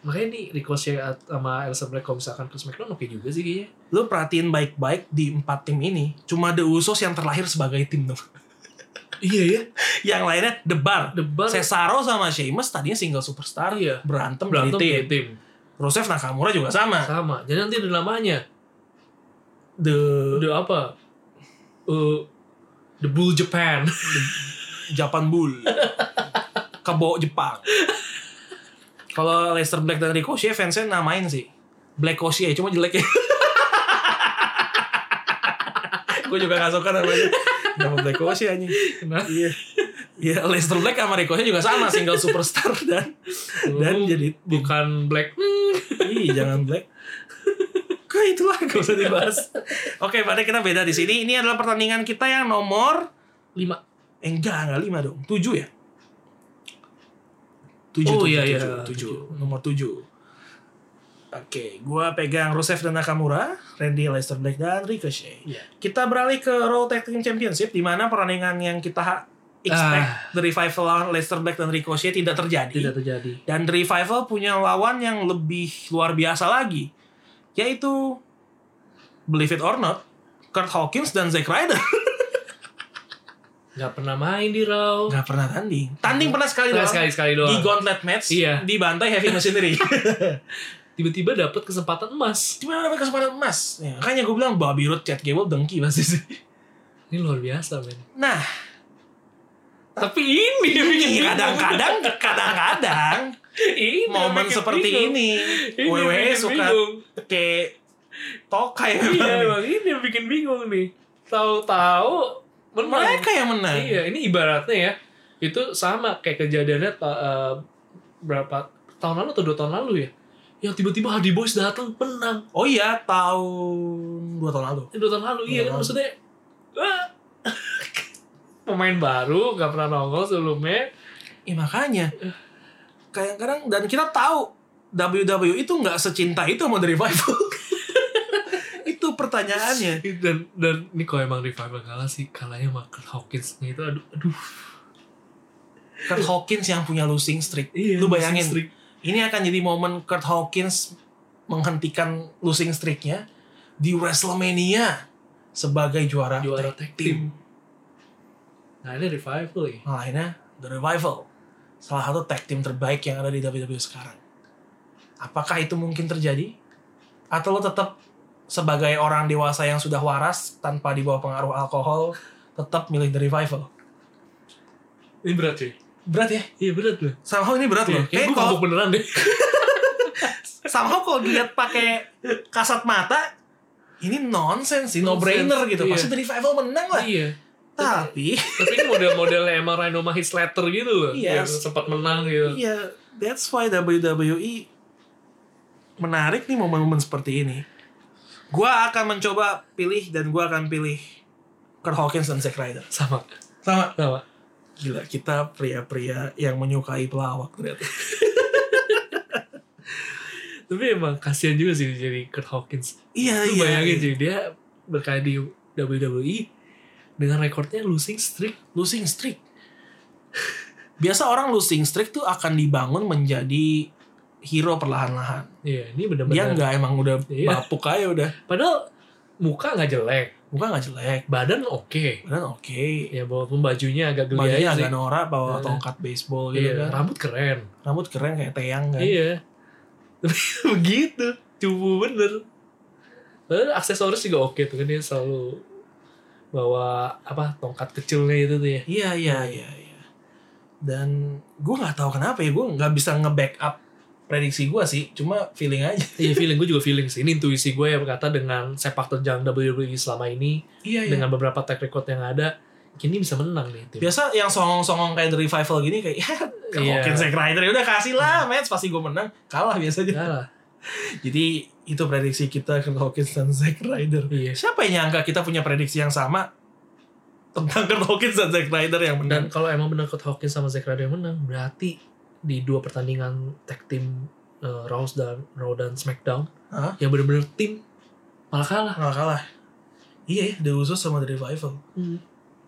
makanya nih Ricochet at- sama Elsa Black kalau misalkan ke SmackDown oke juga sih kayaknya
Lo perhatiin baik-baik di empat tim ini. Cuma The Usos yang terlahir sebagai tim dong.
iya ya
yang lainnya The Bar.
The Bar
Cesaro sama Sheamus tadinya single superstar
Iya.
berantem,
berantem
jadi tim.
di tim Nah.
Rusev Nakamura juga sama.
sama jadi nanti ada namanya
The
udah apa Eh, The Bull Japan
Japan Bull. Kebo Jepang. Kalau Leicester Black dan Ricochet fansnya namain sih. Black Ricochet cuma jelek ya. Gue juga gak suka namanya. Nama Black Ricochet anjing.
Kenapa?
Iya. Iya, Leicester Black sama Ricochet juga sama single superstar dan dan
Lu
jadi tim.
bukan Black hmm,
Ih, jangan black. Kok itulah gak usah dibahas. Oke, padahal kita beda di sini. Ini adalah pertandingan kita yang nomor
lima
eh, enggak enggak lima dong, tujuh ya. Tujuh,
Oh,
tujuh,
iya, iya.
tujuh, tujuh. nomor tujuh. Oke, gua pegang Rusev dan Nakamura, Randy Leicester Black dan Ricochet.
Iya.
Kita beralih ke Raw Tag Team Championship, di mana pertandingan yang kita ha- expect the revival lawan Leicester Black dan Ricochet Ah. tidak terjadi.
tidak terjadi
Dan The Revival punya lawan yang lebih luar biasa lagi. Yaitu, believe it or not, Kurt Hawkins dan Zack Ryder.
nggak pernah main di Raw
Nggak pernah tanding. Tanding pernah sekali
Nah,
doang.
sekali sekali
Di
doang
gauntlet match,
Iya.
di bantai heavy machinery.
tiba-tiba dapat kesempatan emas
Cuma dapat kesempatan emas. Ya, makanya gue bilang, Bobby Roode, Chad Gable, dengki pasti sih.
ini luar biasa men Iya,
Nah,
tapi ini yang bikin
ini
bingung.
kadang-kadang, kadang-kadang,
Ini yang
momen
bikin
seperti
bingung.
ini,
Ini yang
WWE
bikin
E suka
bingung.
kayak tokai.
iya emang ini yang bikin bingung nih tahu-tahu Iya, menang
Mereka yang menang.
Iya, ini ibaratnya ya. Itu sama kayak kejadiannya ta- eh, berapa tahun lalu atau dua tahun lalu ya yang tiba-tiba Hardy Boys datang menang
Oh iya, tahun dua tahun lalu.
Eh, dua tahun lalu iya
Dua tahun.
kan maksudnya ah. pemain baru nggak pernah nongol sebelumnya
Ya makanya. Kadang-kadang dan kita tahu WWE itu nggak secinta itu sama The Revival. itu pertanyaannya.
dan dan ini kalau emang revival kalah sih kalahnya sama Kurt Hawkinsnya itu aduh aduh
Kurt Hawkins yang punya losing streak.
Iya,
Lu bayangin.
losing streak.
Ini akan jadi momen Kurt Hawkins menghentikan losing streaknya di WrestleMania sebagai juara,
juara tag team. Nah ini revival ya.
Nah, akhirnya The Revival. Salah satu tag team terbaik yang ada di WWE sekarang. Apakah itu mungkin terjadi? Atau lo tetap sebagai orang dewasa yang sudah waras tanpa dibawa pengaruh alkohol tetap milih The Revival?
Ini berat sih.
Berat ya?
Iya berat loh.
Somehow ini berat
Iya,
loh.
kayak
Kayak
gue
kalau
mabuk beneran deh.
somehow kalau dilihat pakai kasat mata ini nonsense sih, no
Nonsense,
brainer gitu.
iya.
Pasti The Revival menang lah.
iya.
Tapi
Tapi ini model-modelnya emang Rhino Mahis Slater gitu loh.
Iya.
Yang sempat menang gitu.
Iya, that's why WWE menarik nih momen-momen seperti ini. Gua akan mencoba pilih dan gua akan pilih Kurt Hawkins dan Zack Ryder.
Sama.
Sama.
Sama.
Gila, kita pria-pria yang menyukai pelawak ternyata.
Tapi emang kasihan juga sih jadi Kurt Hawkins.
Iya,
Lu
iya.
bayangin sih dia berkali di WWE dengan rekornya losing streak.
Losing streak. Biasa orang losing streak tuh akan dibangun menjadi hero perlahan-lahan.
Iya, ini
Dia
benar-benar.
nggak emang udah
Iya.
bapuk aja udah.
Padahal muka nggak jelek,
Bukan nggak jelek,
badan oke.
badan oke.
Ya walaupun bajunya agak geli
Bajunya
aja sih.
agak norak bawa
Iya.
tongkat baseball gitu
Iya,
kan.
rambut keren.
rambut keren kayak teyang kan
Iya. Tapi begitu, cupu bener. Padahal aksesoris juga oke tuh kan dia selalu bawa apa tongkat kecilnya itu tuh ya.
iya iya iya, iya. dan gue nggak tahu kenapa ya gue nggak bisa nge-backup prediksi gue sih cuma feeling aja
Iya feeling gue juga feeling sih. Ini intuisi gue yang berkata dengan sepak terjang WWE selama ini
iya
dengan beberapa track record yang ada, kini bisa menang nih tim.
biasa yang songong-songong kayak The Revival gini kayak ya
Iya.
yeah. Zack Ryder ya udah kasih lah match pasti gue menang kalah biasanya
Kalah.
jadi itu prediksi kita ke Hawkins dan Zack Ryder
Iya.
siapa yang nyangka kita punya prediksi yang sama tentang Kurt Hawkins dan Zack Ryder yang menang
Dan kalau emang benar Kurt Hawkins sama Zack Ryder yang menang, berarti di dua pertandingan tag team eh, Raw dan Raw dan SmackDown
Hah?
yang benar-benar tim malah kalah.
nggak kalah iya ya The Usos sama The Revival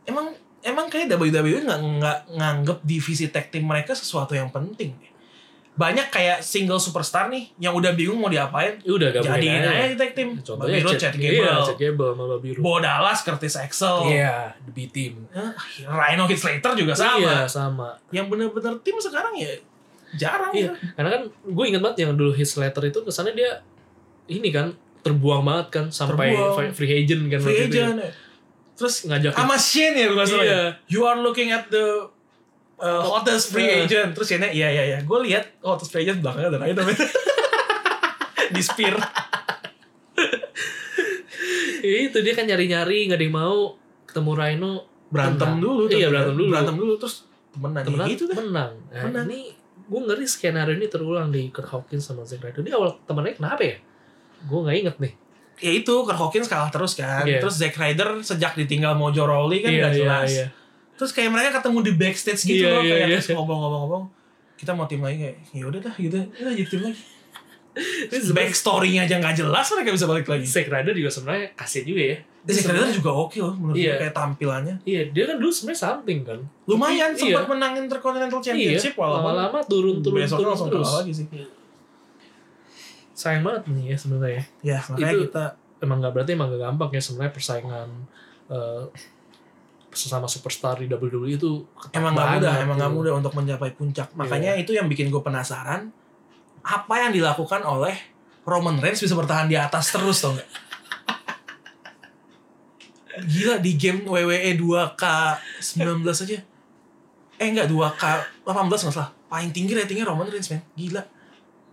emang emang kayak WWE nggak nggak nganggep divisi tag team mereka sesuatu yang penting deh. banyak kayak single superstar nih yang udah bingung mau diapain
Ya udah gabungin
jadiin
aja.
aja di tag team
Contohnya
Bobby Roode, Chad Gable
Iya, Chad Gable sama Bobby Roode.
Bo Dallas Curtis Axel
Iya, The B Team.
Eh, Rhino Heath Slater juga sama
Iya, sama.
yang bener-bener tim sekarang ya jarang
Iya.
ya.
Karena kan gue ingat banget yang dulu Heath Slater itu kesannya dia ini kan terbuang banget kan sampai
Terbuang.
fi- free agent kan
free
waktu itu ya.
agent ya. terus
ngajak
sama Shane ya gue salah
Iya.
ya you are looking at the uh, hottest free
Iya.
agent terus Shane iya iya iya gue lihat hottest free agent belakangnya ada lain namanya di spear
itu dia kan nyari-nyari nggak ada yang mau ketemu Rhino
berantem
Menang.
dulu tuh.
Iya, berantem dulu.
berantem dulu terus temenan,
temenan
Ya gitu deh
menang. Nah,
Menang.
ini gue ngeri skenario ini terulang di Kurt Hawkins sama Zack Ryder. Ini awal temennya kenapa ya? Gue nggak inget nih.
ya itu Kurt Hawkins kalah terus kan
Iya.
terus Zack Ryder sejak ditinggal Mojo Rawley kan nggak jelas terus kayak mereka ketemu di backstage gitu
Iya,
loh
iya,
kayak
iya.
terus ngomong-ngomong-ngomong kita mau tim lagi kayak ya udah dah gitu udah jadi tim lagi
Ini
back story-nya aja nggak jelas mereka bisa balik lagi
Zack Ryder juga sebenarnya kasian juga ya.
Dan Zack Ryder juga oke loh menurut
Iya.
gue kayak tampilannya
Iya, dia kan dulu sebenarnya something kan.
lumayan
Iya.
sempat menang Intercontinental Championship
iya,
walaupun
lama-lama turun-turun
besoknya
turun
langsung
terus. Iya.
kalah lagi sih
Sayang banget nih ya sebenarnya.
ya makanya
Itu-
kita
Emang nggak berarti emang nggak gampang ya sebenarnya persaingan eh, sesama superstar di WWE itu ketat
Emang nggak mudah,
banget
emang nggak
gitu.
mudah untuk mencapai
Iya.
puncak. Makanya itu yang bikin gue penasaran. Apa yang dilakukan oleh Roman Reigns bisa bertahan di atas terus tau nggak? Gila di game E WWE 2K19 aja. Eh enggak 2K18 nggak salah. Paling tinggi ratingnya Roman Reigns men. Gila.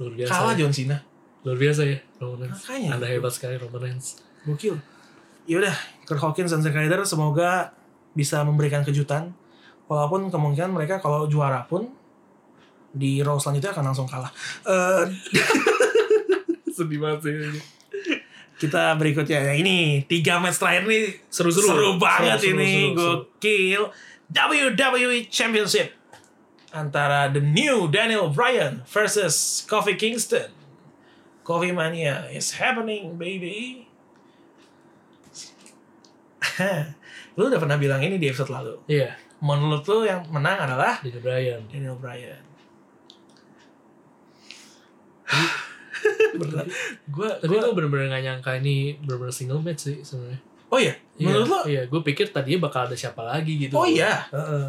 Luar biasa.
Kalah
ya.
John Cena.
Luar biasa ya Roman Reigns.
Makanya.
Anda hebat sekali Roman Reigns.
Gokil. Yaudah, Kurt Hawkins dan Zack Ryder semoga bisa memberikan kejutan. Walaupun kemungkinan mereka kalau juara pun di row selanjutnya akan langsung kalah. Eh,
Sedih banget sih. ini.
kita berikutnya ya ini tiga match terakhir nih
Seru-seru.
seru banget
Seru, seru,
ini
seru, seru.
gokil WWE Championship antara The New Daniel Bryan versus Kofi Kingston. Kofi Mania is happening baby. lu udah pernah bilang ini di episode lalu.
Iya,
Menurut lu yang menang adalah
Daniel Bryan.
Daniel Bryan. Gue
Tapi gue bener-bener gak nyangka ini bener-bener single match sih sebenarnya.
Oh iya,
Iya,
menurut lu?
Iya, gue pikir tadinya bakal ada siapa lagi gitu.
Oh iya.
Heeh.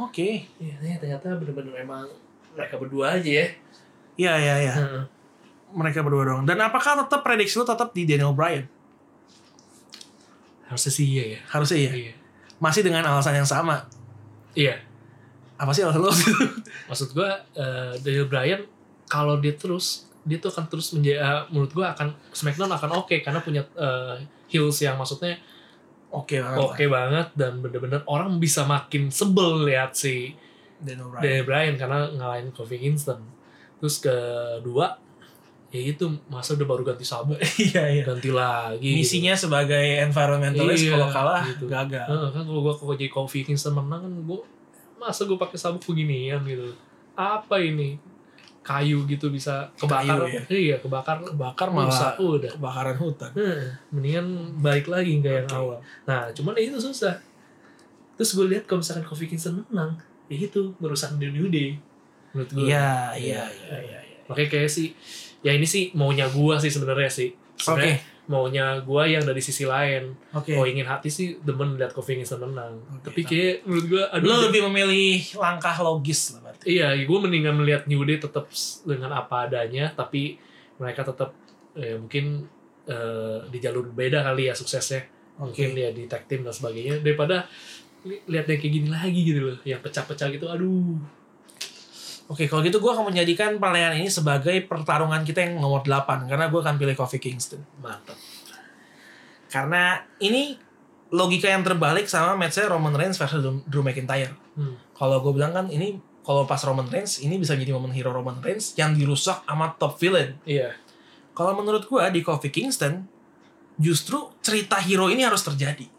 Oke.
Iya, ternyata bener-bener emang mereka berdua aja ya.
Iya iya iya.
Heeh.
Mereka berdua doang. Dan apakah tetap prediksi lu tetap di Daniel Bryan?
Harusnya sih iya ya.
Harusnya iya.
Iya.
Masih dengan alasan yang sama.
Iya.
Apa sih alasan lu?
Maksud gue eh, Daniel Bryan kalau dia terus dia tuh akan terus menjadi eh, menurut gue akan Smackdown akan oke karena punya eh, heels yang maksudnya
Oke banget.
oke banget dan bener-bener orang bisa makin sebel lihat si
Daniel Bryan.
Daniel Bryan karena ngalahin Kofi Kingston. Terus kedua ya itu masa udah baru ganti sabuk
Iya iya.
ganti lagi. gitu.
Misinya sebagai environmentalist
Iya,
kalau kalah
gitu.
gagal.
Heeh, kan kalau gua kalau jadi Kofi Kingston menang kan gua masa gua pakai sabuk beginian gitu. Apa ini? Kayu gitu bisa kebakar.
Kayu, ya.
Iya, kebakar.
Kebakar malah
Rusak udah.
kebakaran hutan.
Heeh, mendingan balik lagi kayak yang
Oke.
awal. Nah, cuman ya itu susah. Terus gue lihat kalau misalkan Kofi Kingston menang, ya itu merusak The New Day. Menurut gue.
Iya iya iya iya.
Makanya kayak sih, ya ini sih maunya gua sih sebenarnya sih.
Oke. Oh, iya.
Sebenarnya maunya gua yang dari sisi lain.
Oke.
Kalau Oh, ingin hati sih demen lihat Kofi Kingston menang.
Oke,
Tapi kayak menurut gue aduh
Lu Oh, gitu. lebih memilih langkah logis lah berarti.
iya gue mendingan melihat New Day tetap s- dengan apa adanya tapi mereka tetap eh, mungkin eh, di jalur beda kali ya suksesnya. Mungkin
Oke.
ya di tag team dan sebagainya daripada li- lihat yang kayak gini lagi gitu loh yang pecah-pecah gitu aduh
Oke, kalau gitu gua akan menjadikan pertandingan ini sebagai pertarungan kita yang nomor 8 karena gua akan pilih Kofi Kingston.
mantap.
Karena ini logika yang terbalik sama matchnya Roman Reigns versus Drew- Drew McIntyre.
Hmm.
Kalau gue bilang kan ini kalau pas Roman Reigns ini bisa jadi momen hero Roman Reigns yang dirusak sama top villain.
Iya.
Kalau menurut gue di Kofi Kingston justru cerita hero ini harus terjadi.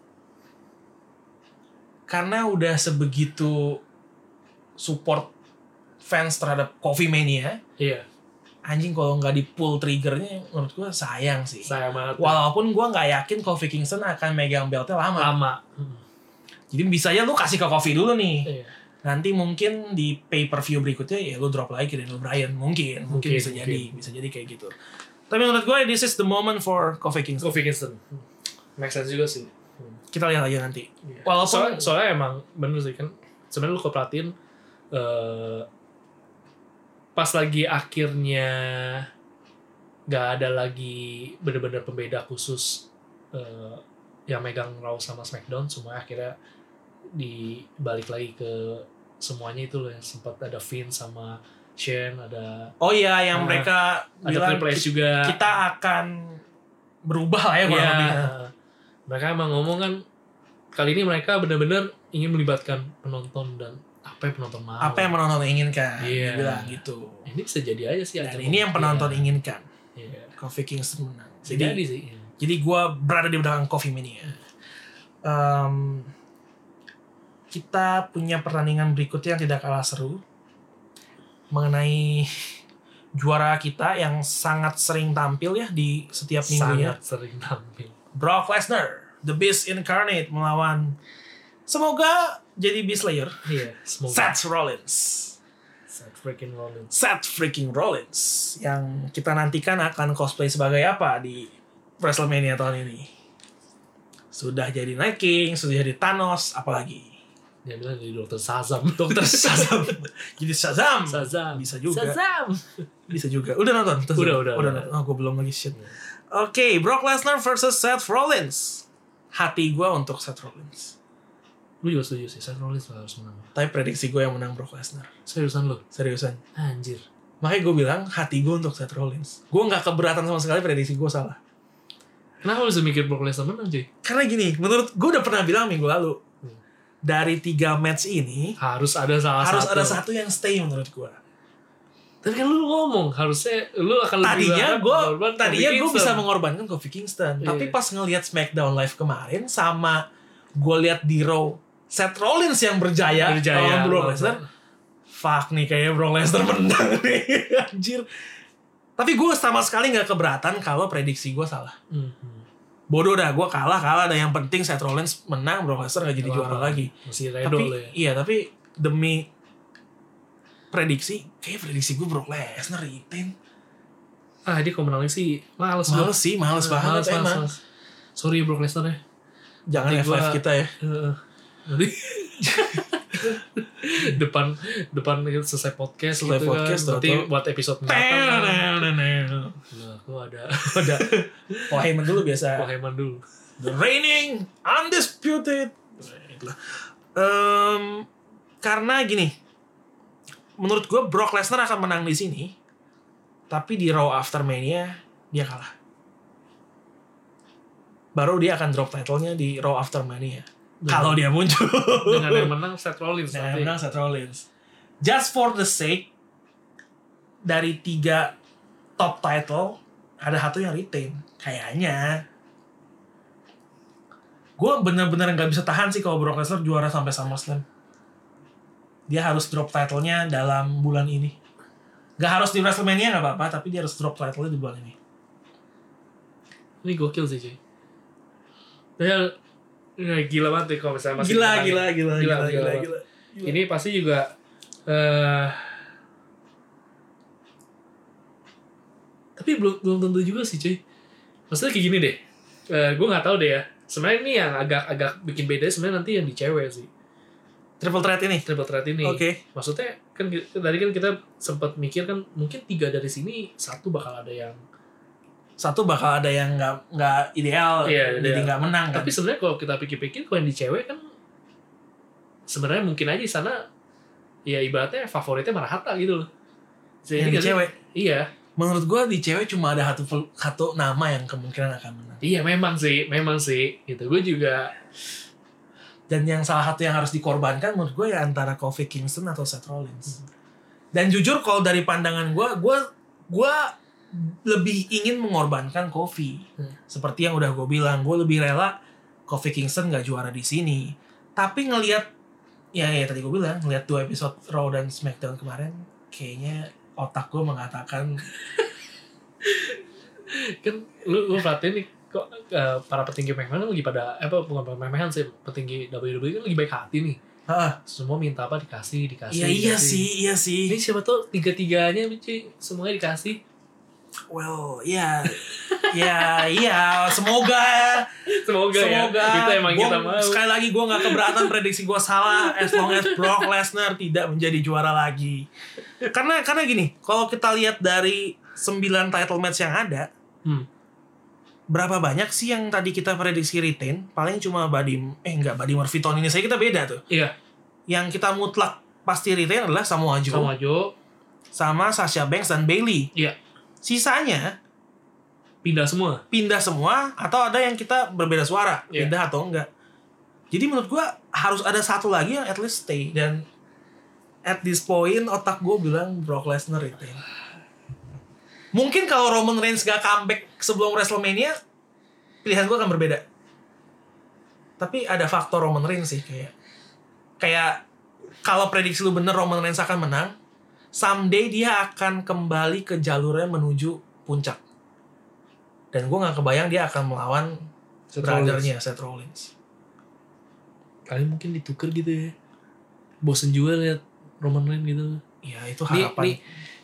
Karena udah sebegitu support fans terhadap Kofi Mania,
Iya,
anjing kalau nggak di pull triggernya menurut gue sayang sih.
sayang banget.
Walaupun gue nggak yakin Kofi Kingston akan megang beltnya lama.
lama. Hmm.
Jadi bisa aja lu kasih ke Kofi dulu nih.
Iya.
Nanti mungkin di pay per view berikutnya ya lu drop lagi ke Daniel Bryan mungkin, mungkin,
Mungkin,
bisa
mungkin.
jadi, bisa jadi kayak gitu. Tapi menurut gue this is the moment for Kofi Kingston.
Kofi Kingston. Hmm. Make sense juga sih.
Kita lihat aja nanti.
Iya.
Walaupun-
soalnya, soalnya emang bener sih kan sebenarnya lu kalau perhatiin eh, pas lagi akhirnya nggak ada lagi bener-bener pembeda khusus eh, yang megang Raw sama SmackDown semua akhirnya dibalik lagi ke semuanya itu loh yang sempat ada Finn sama Shane ada
Oh iya, yang
Ah,
mereka
ada
bilang
Triple H
"Ki-
juga
kita akan berubah lah ya kurang
Iya.
lebih.
Mereka emang ngomong kan kali ini mereka benar-benar ingin melibatkan penonton dan apa yang penonton mau.
Apa yang penonton inginkan,
Iya.
dibilang gitu.
ini bisa jadi aja sih.
Dan
acara
ini yang
pembukaan.
penonton inginkan.
Iya.
Kofi Kingston menang.
Bisa
Jadi
jadi sih. iya.
Jadi gue berada di belakang Coffee Mania. Em, kita punya pertandingan berikutnya yang tidak kalah seru mengenai juara kita yang sangat sering tampil ya di setiap minggunya.
Sangat sering tampil.
Brock Lesnar, The Beast Incarnate melawan semoga jadi Beast Slayer,
Iya. Semoga.
Seth Rollins.
Seth freaking Rollins.
Seth freaking Rollins yang kita nantikan akan cosplay sebagai apa di WrestleMania tahun ini. Sudah jadi Night King, sudah jadi Thanos, apalagi
Dia bilang jadi dokter Sazam.
Dokter Shazam. jadi Shazam.
Sazam.
Bisa juga.
Sazam.
Bisa juga. Udah nonton? Terus-
Udah, udah,
udah.
udah. Iya.
nonton. Oh, gue belum lagi shit. Oke, Brock Lesnar versus Seth Rollins. Hati gue untuk Seth Rollins.
Lu juga setuju sih. Seth Rollins lah harus menang.
Tapi prediksi gue yang menang Brock Lesnar.
Seriusan lu.
Seriusan.
Anjir.
Makanya gue bilang hati gue untuk Seth Rollins. Gue nggak keberatan sama sekali prediksi gue salah.
Kenapa bisa mikir Brock Lesnar menang sih?
karena gini menurut gue udah pernah bilang minggu lalu
Hmm.
dari tiga match ini
Harus ada salah
harus
satu.
ada satu yang stay menurut gue
Tapi kan lu ngomong harusnya lu akan lebih
tadinya
berharap
gue
mengorbankan
tadinya
Kofi
gue
Kingston.
bisa mengorbankan Kofi Kingston tapi
Iya.
pas ngelihat SmackDown live kemarin sama gue lihat di Raw Seth Rollins yang berjaya,
Berjaya.
lawan Brock Lesnar fuck nih kayaknya Brock Lesnar menang nih anjir tapi gue sama sekali nggak keberatan kalau prediksi gue salah
Hmm.
bodoh dah gue kalah kalah dan yang penting Seth Rollins menang Brock Lesnar nggak jadi
Nggak
juara
apa-apa.
lagi
Masih redo
tapi
lu ya.
iya tapi demi prediksi kayak prediksi gue Brock Lesnar retain
Ah, dia kalau menangnya sih males gua.
males sih males
Ah,
banget emang
males. Sorry ya Brock Lesnar ya.
Jangan
Nanti
F5
gua-
kita ya.
Heeh. Nanti depan depan gitu, selesai podcast
Selesai
gitu
podcast,
kan. Nanti
tau-tau.
buat episode mendatang. kan. Nah, gua ada
Udah. Paul Heyman dulu biasa.
Pokemon dulu.
The reigning undisputed. Em, karena gini, menurut gue Brock Lesnar akan menang di sini, tapi di Raw After Mania dia kalah. Baru dia akan drop title-nya di Raw After Mania. Kalau dia muncul.
dengan yang menang Seth Rollins
Nah, yang
nanti.
menang Seth Rollins. Just for the sake dari tiga top title ada satu yang retain kayaknya. Gue bener-bener nggak bisa tahan sih kalau Brock Lesnar juara sampai SummerSlam. Dia harus drop title-nya dalam bulan ini. Gak harus di WrestleMania nggak apa-apa, tapi dia harus drop title-nya di bulan ini.
Ini gokil sih cuy. Ya, ya, gila banget nih kalau misalnya masih
Gila,
dimenangin.
gila, gila, gila, gila, gila,
banget. Ini pasti juga eh tapi belum belum tentu juga sih cuy. Maksudnya kayak gini deh. Eh gue nggak tahu deh ya. Sebenarnya ini yang agak-agak bikin beda sebenarnya nanti yang di cewek sih.
Triple threat ini.
Triple threat ini.
Oke.
Maksudnya kan ki- tadi kan kita sempat mikir kan mungkin tiga dari sini satu bakal ada yang
Satu bakal ada yang nggak nggak ideal,
Iya,
jadi
ideal.
nggak menang. kan?
Tapi sebenarnya kalau kita pikir-pikir kalau yang di cewek kan sebenarnya mungkin aja di sana ya ibaratnya favoritnya Marahata gitu loh. Jadi
yang di
kan-
cewek.
Iya,
menurut gua di cewek cuma ada satu satu nama yang kemungkinan akan menang
iya memang sih, memang sih. Gitu. Gue juga
dan yang salah satu yang harus dikorbankan menurut gue ya antara Kofi Kingston atau Seth
Hmm.
Rollins dan jujur kalau dari pandangan gua gua gua lebih ingin mengorbankan Kofi
Hmm.
seperti yang udah gue bilang gue lebih rela Kofi Kingston gak juara di sini tapi ngelihat ya ya tadi gue bilang ngelihat dua episode Raw dan SmackDown kemarin kayaknya otak gue mengatakan
kan lu lu perhatiin nih kok eh, para petinggi McMahon lagi pada eh, apa bukan McMahon sih petinggi WWE kan lagi baik hati nih
ah
semua minta apa dikasih dikasih
iya iya
dikasih.
sih iya sih
ini siapa tuh tiga tiganya cuy semuanya dikasih
Well, ya, ya, iya. Semoga,
semoga, ya
semoga.
itu emang
Gua-
kita mau
Sekali lagi gue nggak keberatan prediksi gue salah. As long as Brock Lesnar tidak menjadi juara lagi. Karena, karena gini, kalau kita lihat dari 9 title match yang ada,
Hmm.
berapa banyak sih yang tadi kita prediksi retain? Paling cuma Buddy, eh nggak Buddy Murphy tahun ini saya kita beda tuh.
iya
Yang kita mutlak pasti retain adalah Samoa Joe,
sama Jo
sama Sasha Banks dan Bailey.
iya
Sisanya
pindah semua
pindah semua atau ada yang kita berbeda suara
Iya.
pindah atau enggak jadi menurut gua harus ada satu lagi yang at least stay dan at this point otak gua bilang Brock Lesnar itu mungkin kalau Roman Reigns gak comeback sebelum WrestleMania pilihan gua akan berbeda tapi ada faktor Roman Reigns sih kayak kayak kalau prediksi lu bener Roman Reigns akan menang someday dia akan kembali ke jalurnya menuju puncak dan gue nggak kebayang dia akan melawan
Seth
brothernya Seth Rollins
kali mungkin ditukar gitu ya bosen juga lihat Roman Reigns gitu
ya itu
Nih, nih,
harapan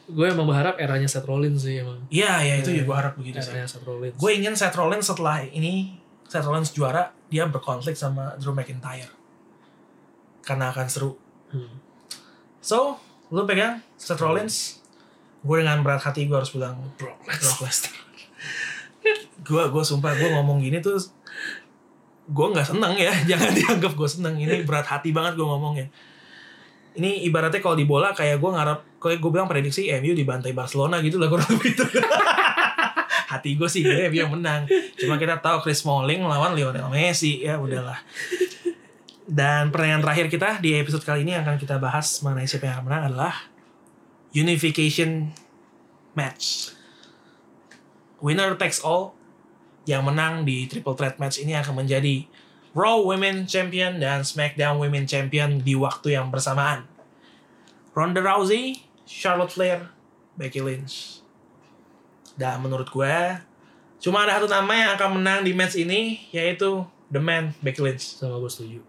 gue emang berharap eranya Seth Rollins sih emang
Iya, ya itu ya
Iya.
gue harap begitu sih
eranya Seth Rollins
gue ingin Seth Rollins setelah ini Seth Rollins juara dia berkonflik sama Drew McIntyre karena akan seru
Hmm.
so lu pegang Seth Rollins gue dengan berat hati gue harus bilang
Brock Lesnar.
Brock Lesnar gue gue sumpah gue ngomong gini tuh gue nggak seneng ya jangan dianggap gue seneng ini berat hati banget gue ngomongnya ini ibaratnya kalau di bola kayak gue ngarap kayak gue bilang prediksi MU dibantai Barcelona gitu lah kurang lebih itu hati gue sih gue MU yang menang cuma kita tahu Chris Smalling lawan Lionel Messi ya udahlah dan pertanyaan terakhir kita di episode kali ini yang akan kita bahas mengenai siapa yang akan menang adalah unification match. Winner takes all. Yang menang di triple threat match ini akan menjadi Raw Women Champion dan SmackDown Women Champion di waktu yang bersamaan. Ronda Rousey, Charlotte Flair, Becky Lynch. Dan menurut gue, cuma ada satu nama yang akan menang di match ini, yaitu The Man, Becky Lynch
sama gue setuju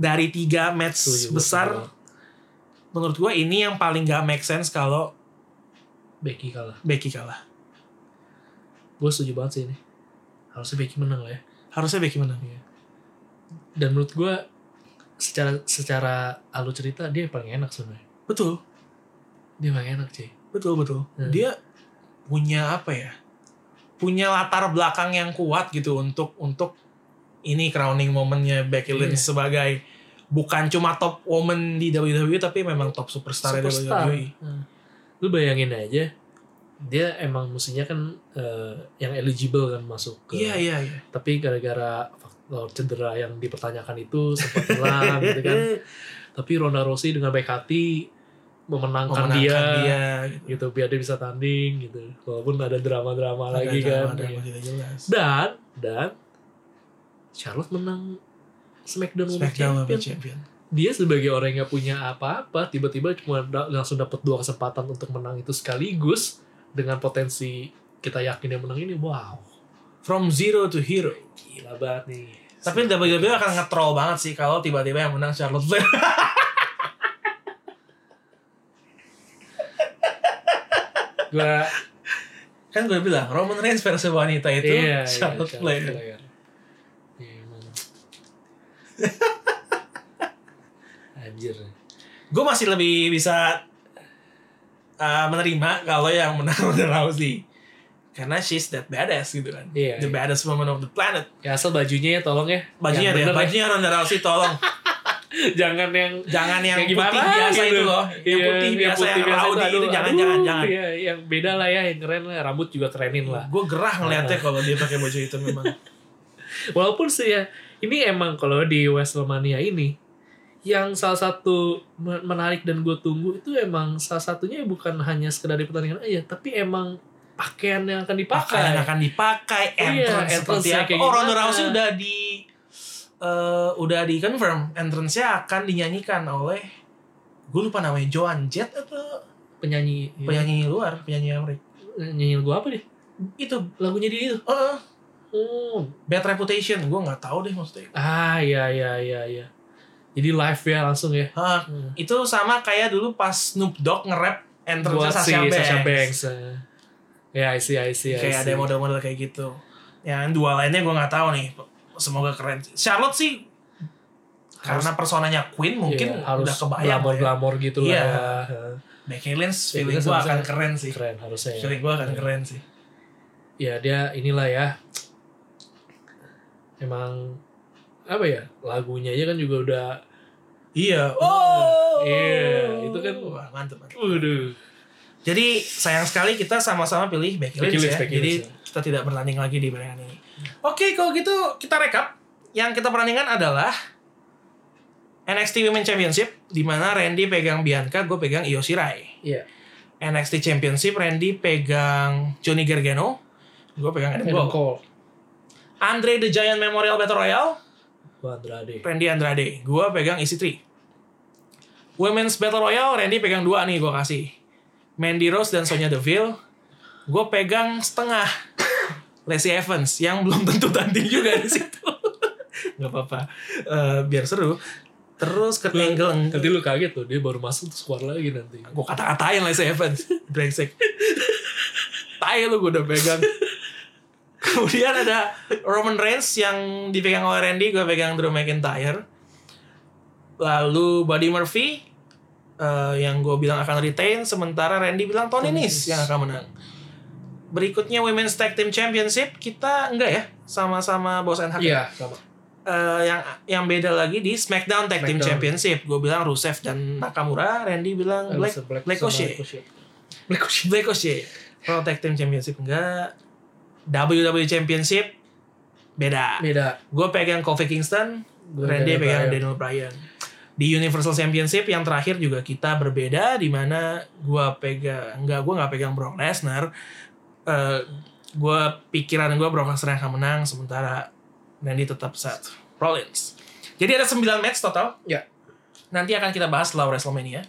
dari tiga match
Setuju, gua
besar
setuju.
menurut gue ini yang paling gak make sense kalau
Becky kalah
Becky kalah
gue setuju banget sih ini harusnya Becky menang lah ya
harusnya Becky menang
dan menurut gue secara secara alur cerita dia yang paling enak sebenarnya
betul
dia paling enak sih
betul betul
Hmm.
dia punya apa ya punya latar belakang yang kuat gitu untuk untuk ini crowning momennya Becky
Iya.
Lynch sebagai bukan cuma top woman di WWE tapi memang top superstar, E. di
Superstar.
WWE
Nah, lu bayangin aja dia emang mestinya kan eh, yang eligible kan masuk ke
iya iya iya
tapi gara-gara faktor cedera yang dipertanyakan itu sempat hilang
Eh,
gitu kan tapi Ronda Rousey dengan baik hati memenangkan,
memenangkan dia,
dia, gitu biar dia bisa tanding gitu walaupun ada drama-drama lagi
Ada-
kan
ada-
iya.
ada- tidak jelas.
dan dan Charlotte menang SmackDown Women's
SmackDown Women's
Champion.
Champion
Dia sebagai orang yang nggak punya apa-apa, tiba-tiba cuma da- langsung dapat dua kesempatan untuk menang itu sekaligus dengan potensi kita yakin yang menang ini. Wow,
from zero to hero
gila banget nih.
Tapi WWE akan nge-troll banget sih kalau tiba-tiba yang menang Charlotte Flair.
gua
kan gue bilang Roman Reigns versi wanita itu
iya, iya,
Charlotte Flair.
Iya, emang. Anjir.
Gue masih lebih bisa uh, menerima kalau yang menang Ronda Rousey. Karena she's that badass gitu kan.
Iya,
the
iya.
baddest woman of the planet.
Ya asal bajunya ya tolong ya.
Bajunya
Yang
deh,
bener ya.
bajunya Ronda Rousey tolong.
jangan yang
jangan yang
Kayak
putih
gimana
biasa
gitu.
itu loh. Yang
Iya,
putih biasa, yang rowdy
biasa
itu
aduh,
jangan,
aduh,
jangan, jangan.
iya, yang beda lah ya, yang keren lah, rambut juga kerenin lah. Ah.
Gue gerah ngeliatnya kalau dia pakai baju itu memang.
Walaupun sih ya, ini emang kalau di Wrestlemania ini yang salah satu me- menarik dan gue tunggu itu emang salah satunya bukan hanya sekedar di pertandingan aja, tapi emang pakaian yang akan dipakai.
pakaian akan dipakai
Iya,
entrance seperti
entrance-nya
apa
kayak
oh Ronda
gimana?
Rousey udah di eh, udah di confirm entrance-nya akan dinyanyikan oleh gue lupa namanya Joan Jett atau
Penyanyi, iya.
penyanyi luar penyanyi Amerika
penyanyi gue Eh, apa deh?
itu
Lagunya dia itu.
eh, eh,
Oh,
Bad Reputation gue nggak tahu deh maksudnya
ah ya ya ya ya. Jadi live ya langsung ya.
Hah,
Hmm.
Ah, itu sama kayak dulu pas Snoop Dogg nge-rap entrance-nya
Buat si
Sasha Banks,
Sasha Banks. eh. Ya, I see, I see, I
kayak ada
see.
model-model kayak gitu yang dua lainnya gue nggak tahu nih semoga keren Charlotte sih
Harus-
karena personanya Queen mungkin
Iya, harus
udah kebayang lah ya.
glamor-glamor gitu lah.
Iya. Iya.
Heeh.
Becky Lynch
Becky
feeling
Lynch
gue
harusnya-
akan keren sih.
Keren harusnya ya.
Feeling gue akan keren sih.
Ya, dia inilah ya. Emang apa ya? Lagunya aja kan juga udah
Iya.
Oh. Iya, itu kan-
Wah, mantep, mantep.
waduh.
Jadi sayang sekali kita sama-sama pilih Becky Lynch,
Becky Lynch,
ya.
Becky
Jadi
Lynch, ya.
kita tidak bertanding lagi di pertandingan ini. Oke, kalau gitu kita rekap. Yang kita pertandingan adalah NXT Women Championship di mana Randy pegang Bianca, gue pegang Io Shirai.
Iya.
NXT Championship Randy pegang Johnny Gargano, gue pegang Adam Cole.
Adam Cole.
Andre the Giant Memorial Battle Royale,
Gua Andrade.
Randy Andrade. Gua pegang EC3. Women's Battle Royale, Randy pegang dua nih gua kasih. Mandy Rose dan Sonya Deville. Gue pegang setengah. Lacey Evans yang belum tentu tanding juga di situ. Gak apa-apa. Eh, biar seru. Terus ke angle
Nanti lu kaget tuh, dia baru masuk terus keluar lagi nanti.
gue kata-katain Lacey Evans. Brengsek. Tai lu gue udah pegang. Kemudian ada Roman Reigns yang dipegang oleh Randy, gue pegang Drew McIntyre. Lalu Buddy Murphy eh, yang gue bilang akan retain, sementara Randy bilang Tony Nese
Tony Nese.
yang akan menang. Berikutnya Women's Tag Team Championship kita enggak ya sama-sama Bos and Hak.
Iya, sama.
Eh, yang yang beda lagi di SmackDown Tag Team
Smackdown.
Championship. Gue bilang Rusev dan Nakamura, Randy bilang Black,
Alistair
Black,
sama
O'Shea.
Ricochet. Black O'Shea.
Black O'Shea. Kalau Tag Team Championship enggak. WWE Championship beda.
Beda.
Gue pegang Kofi Kingston,
Gua
Randy
pegang
pegang
Bryan.
Daniel Bryan. Di Universal Championship yang terakhir juga kita berbeda di mana gua pegang enggak gua nggak pegang Brock Lesnar. Eh gua pikiran gua Brock Lesnar yang akan menang sementara Randy tetap Seth Rollins. Jadi ada 9 match total.
Ya.
Nanti akan kita bahas setelah WrestleMania.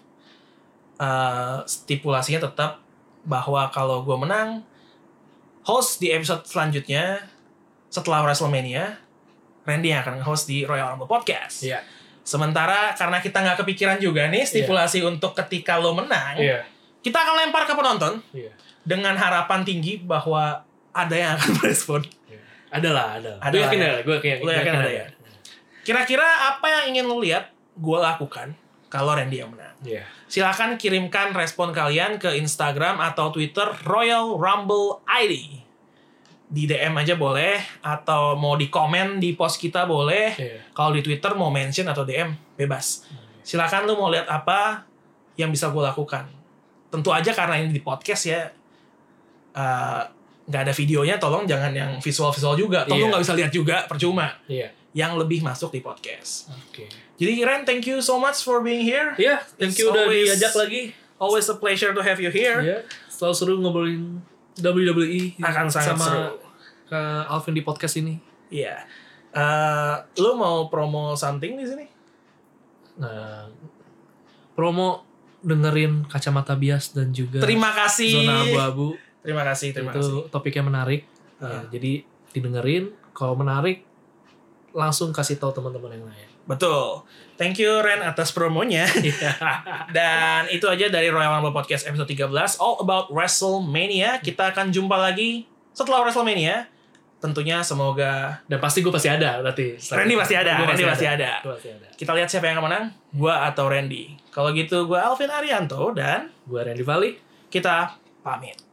Eh, stipulasinya tetap bahwa kalau gua menang host di episode selanjutnya setelah WrestleMania Randy yang akan host di Royal Rumble Podcast.
Iya.
Sementara karena kita nggak kepikiran juga nih stipulasi untuk ketika lo menang,
Iya.
kita akan lempar ke penonton
Iya.
dengan harapan tinggi bahwa ada yang akan merespon.
Ada lah, ada.
Ada
Gue
lah,
yakin
ya.
ada. Gue yakin,
Lo yakin ada ya? Kira-kira apa yang ingin lo lihat gue lakukan kalau Randy yang menang?
Iya.
Silahkan kirimkan respon kalian ke Instagram atau Twitter Royal Rumble ID. Di DM aja boleh, atau mau di komen di post kita boleh.
Iya.
Kalau di Twitter mau mention atau DM, bebas.
Hmm.
Silakan lu mau lihat apa yang bisa gue lakukan. Tentu aja karena ini di podcast ya, eh, nggak ada videonya, tolong jangan yang visual-visual juga. Tolong
Iya.
nggak bisa lihat juga, percuma.
Iya.
Yang lebih masuk di podcast.
Oke.
Jadi Ren, thank you so much for being here.
Hmm. Iya, thank you
It's
udah
always-
diajak lagi.
Always a pleasure to have you here.
Iya. Selalu seru ngobrolin WWE
Akan sangat
sama
seru.
eh, Alvin di podcast ini.
Iya. Eh, lu mau promo something di sini?
Nah, promo dengerin kacamata bias dan juga
Terima kasih.
zona abu-abu
Terima kasih, terima
itu
kasih.
topiknya menarik.
Ah.
Ya, jadi didengerin, kalau menarik langsung kasih tahu teman-teman yang lain.
Betul. Thank you Ren atas promonya.
Iya.
Dan itu aja dari Royal Rumble Podcast episode 13 all about WrestleMania. Kita akan jumpa lagi setelah WrestleMania. Tentunya semoga
Dan pasti gue pasti ada berarti.
Randy pasti ada,
Gua
Randy pasti Hmm. ada.
Gua pasti ada.
kita lihat siapa yang akan menang, gua atau Randy. Kalau gitu gua Alvin Arianto dan
Gue Randy Vali.
kita pamit.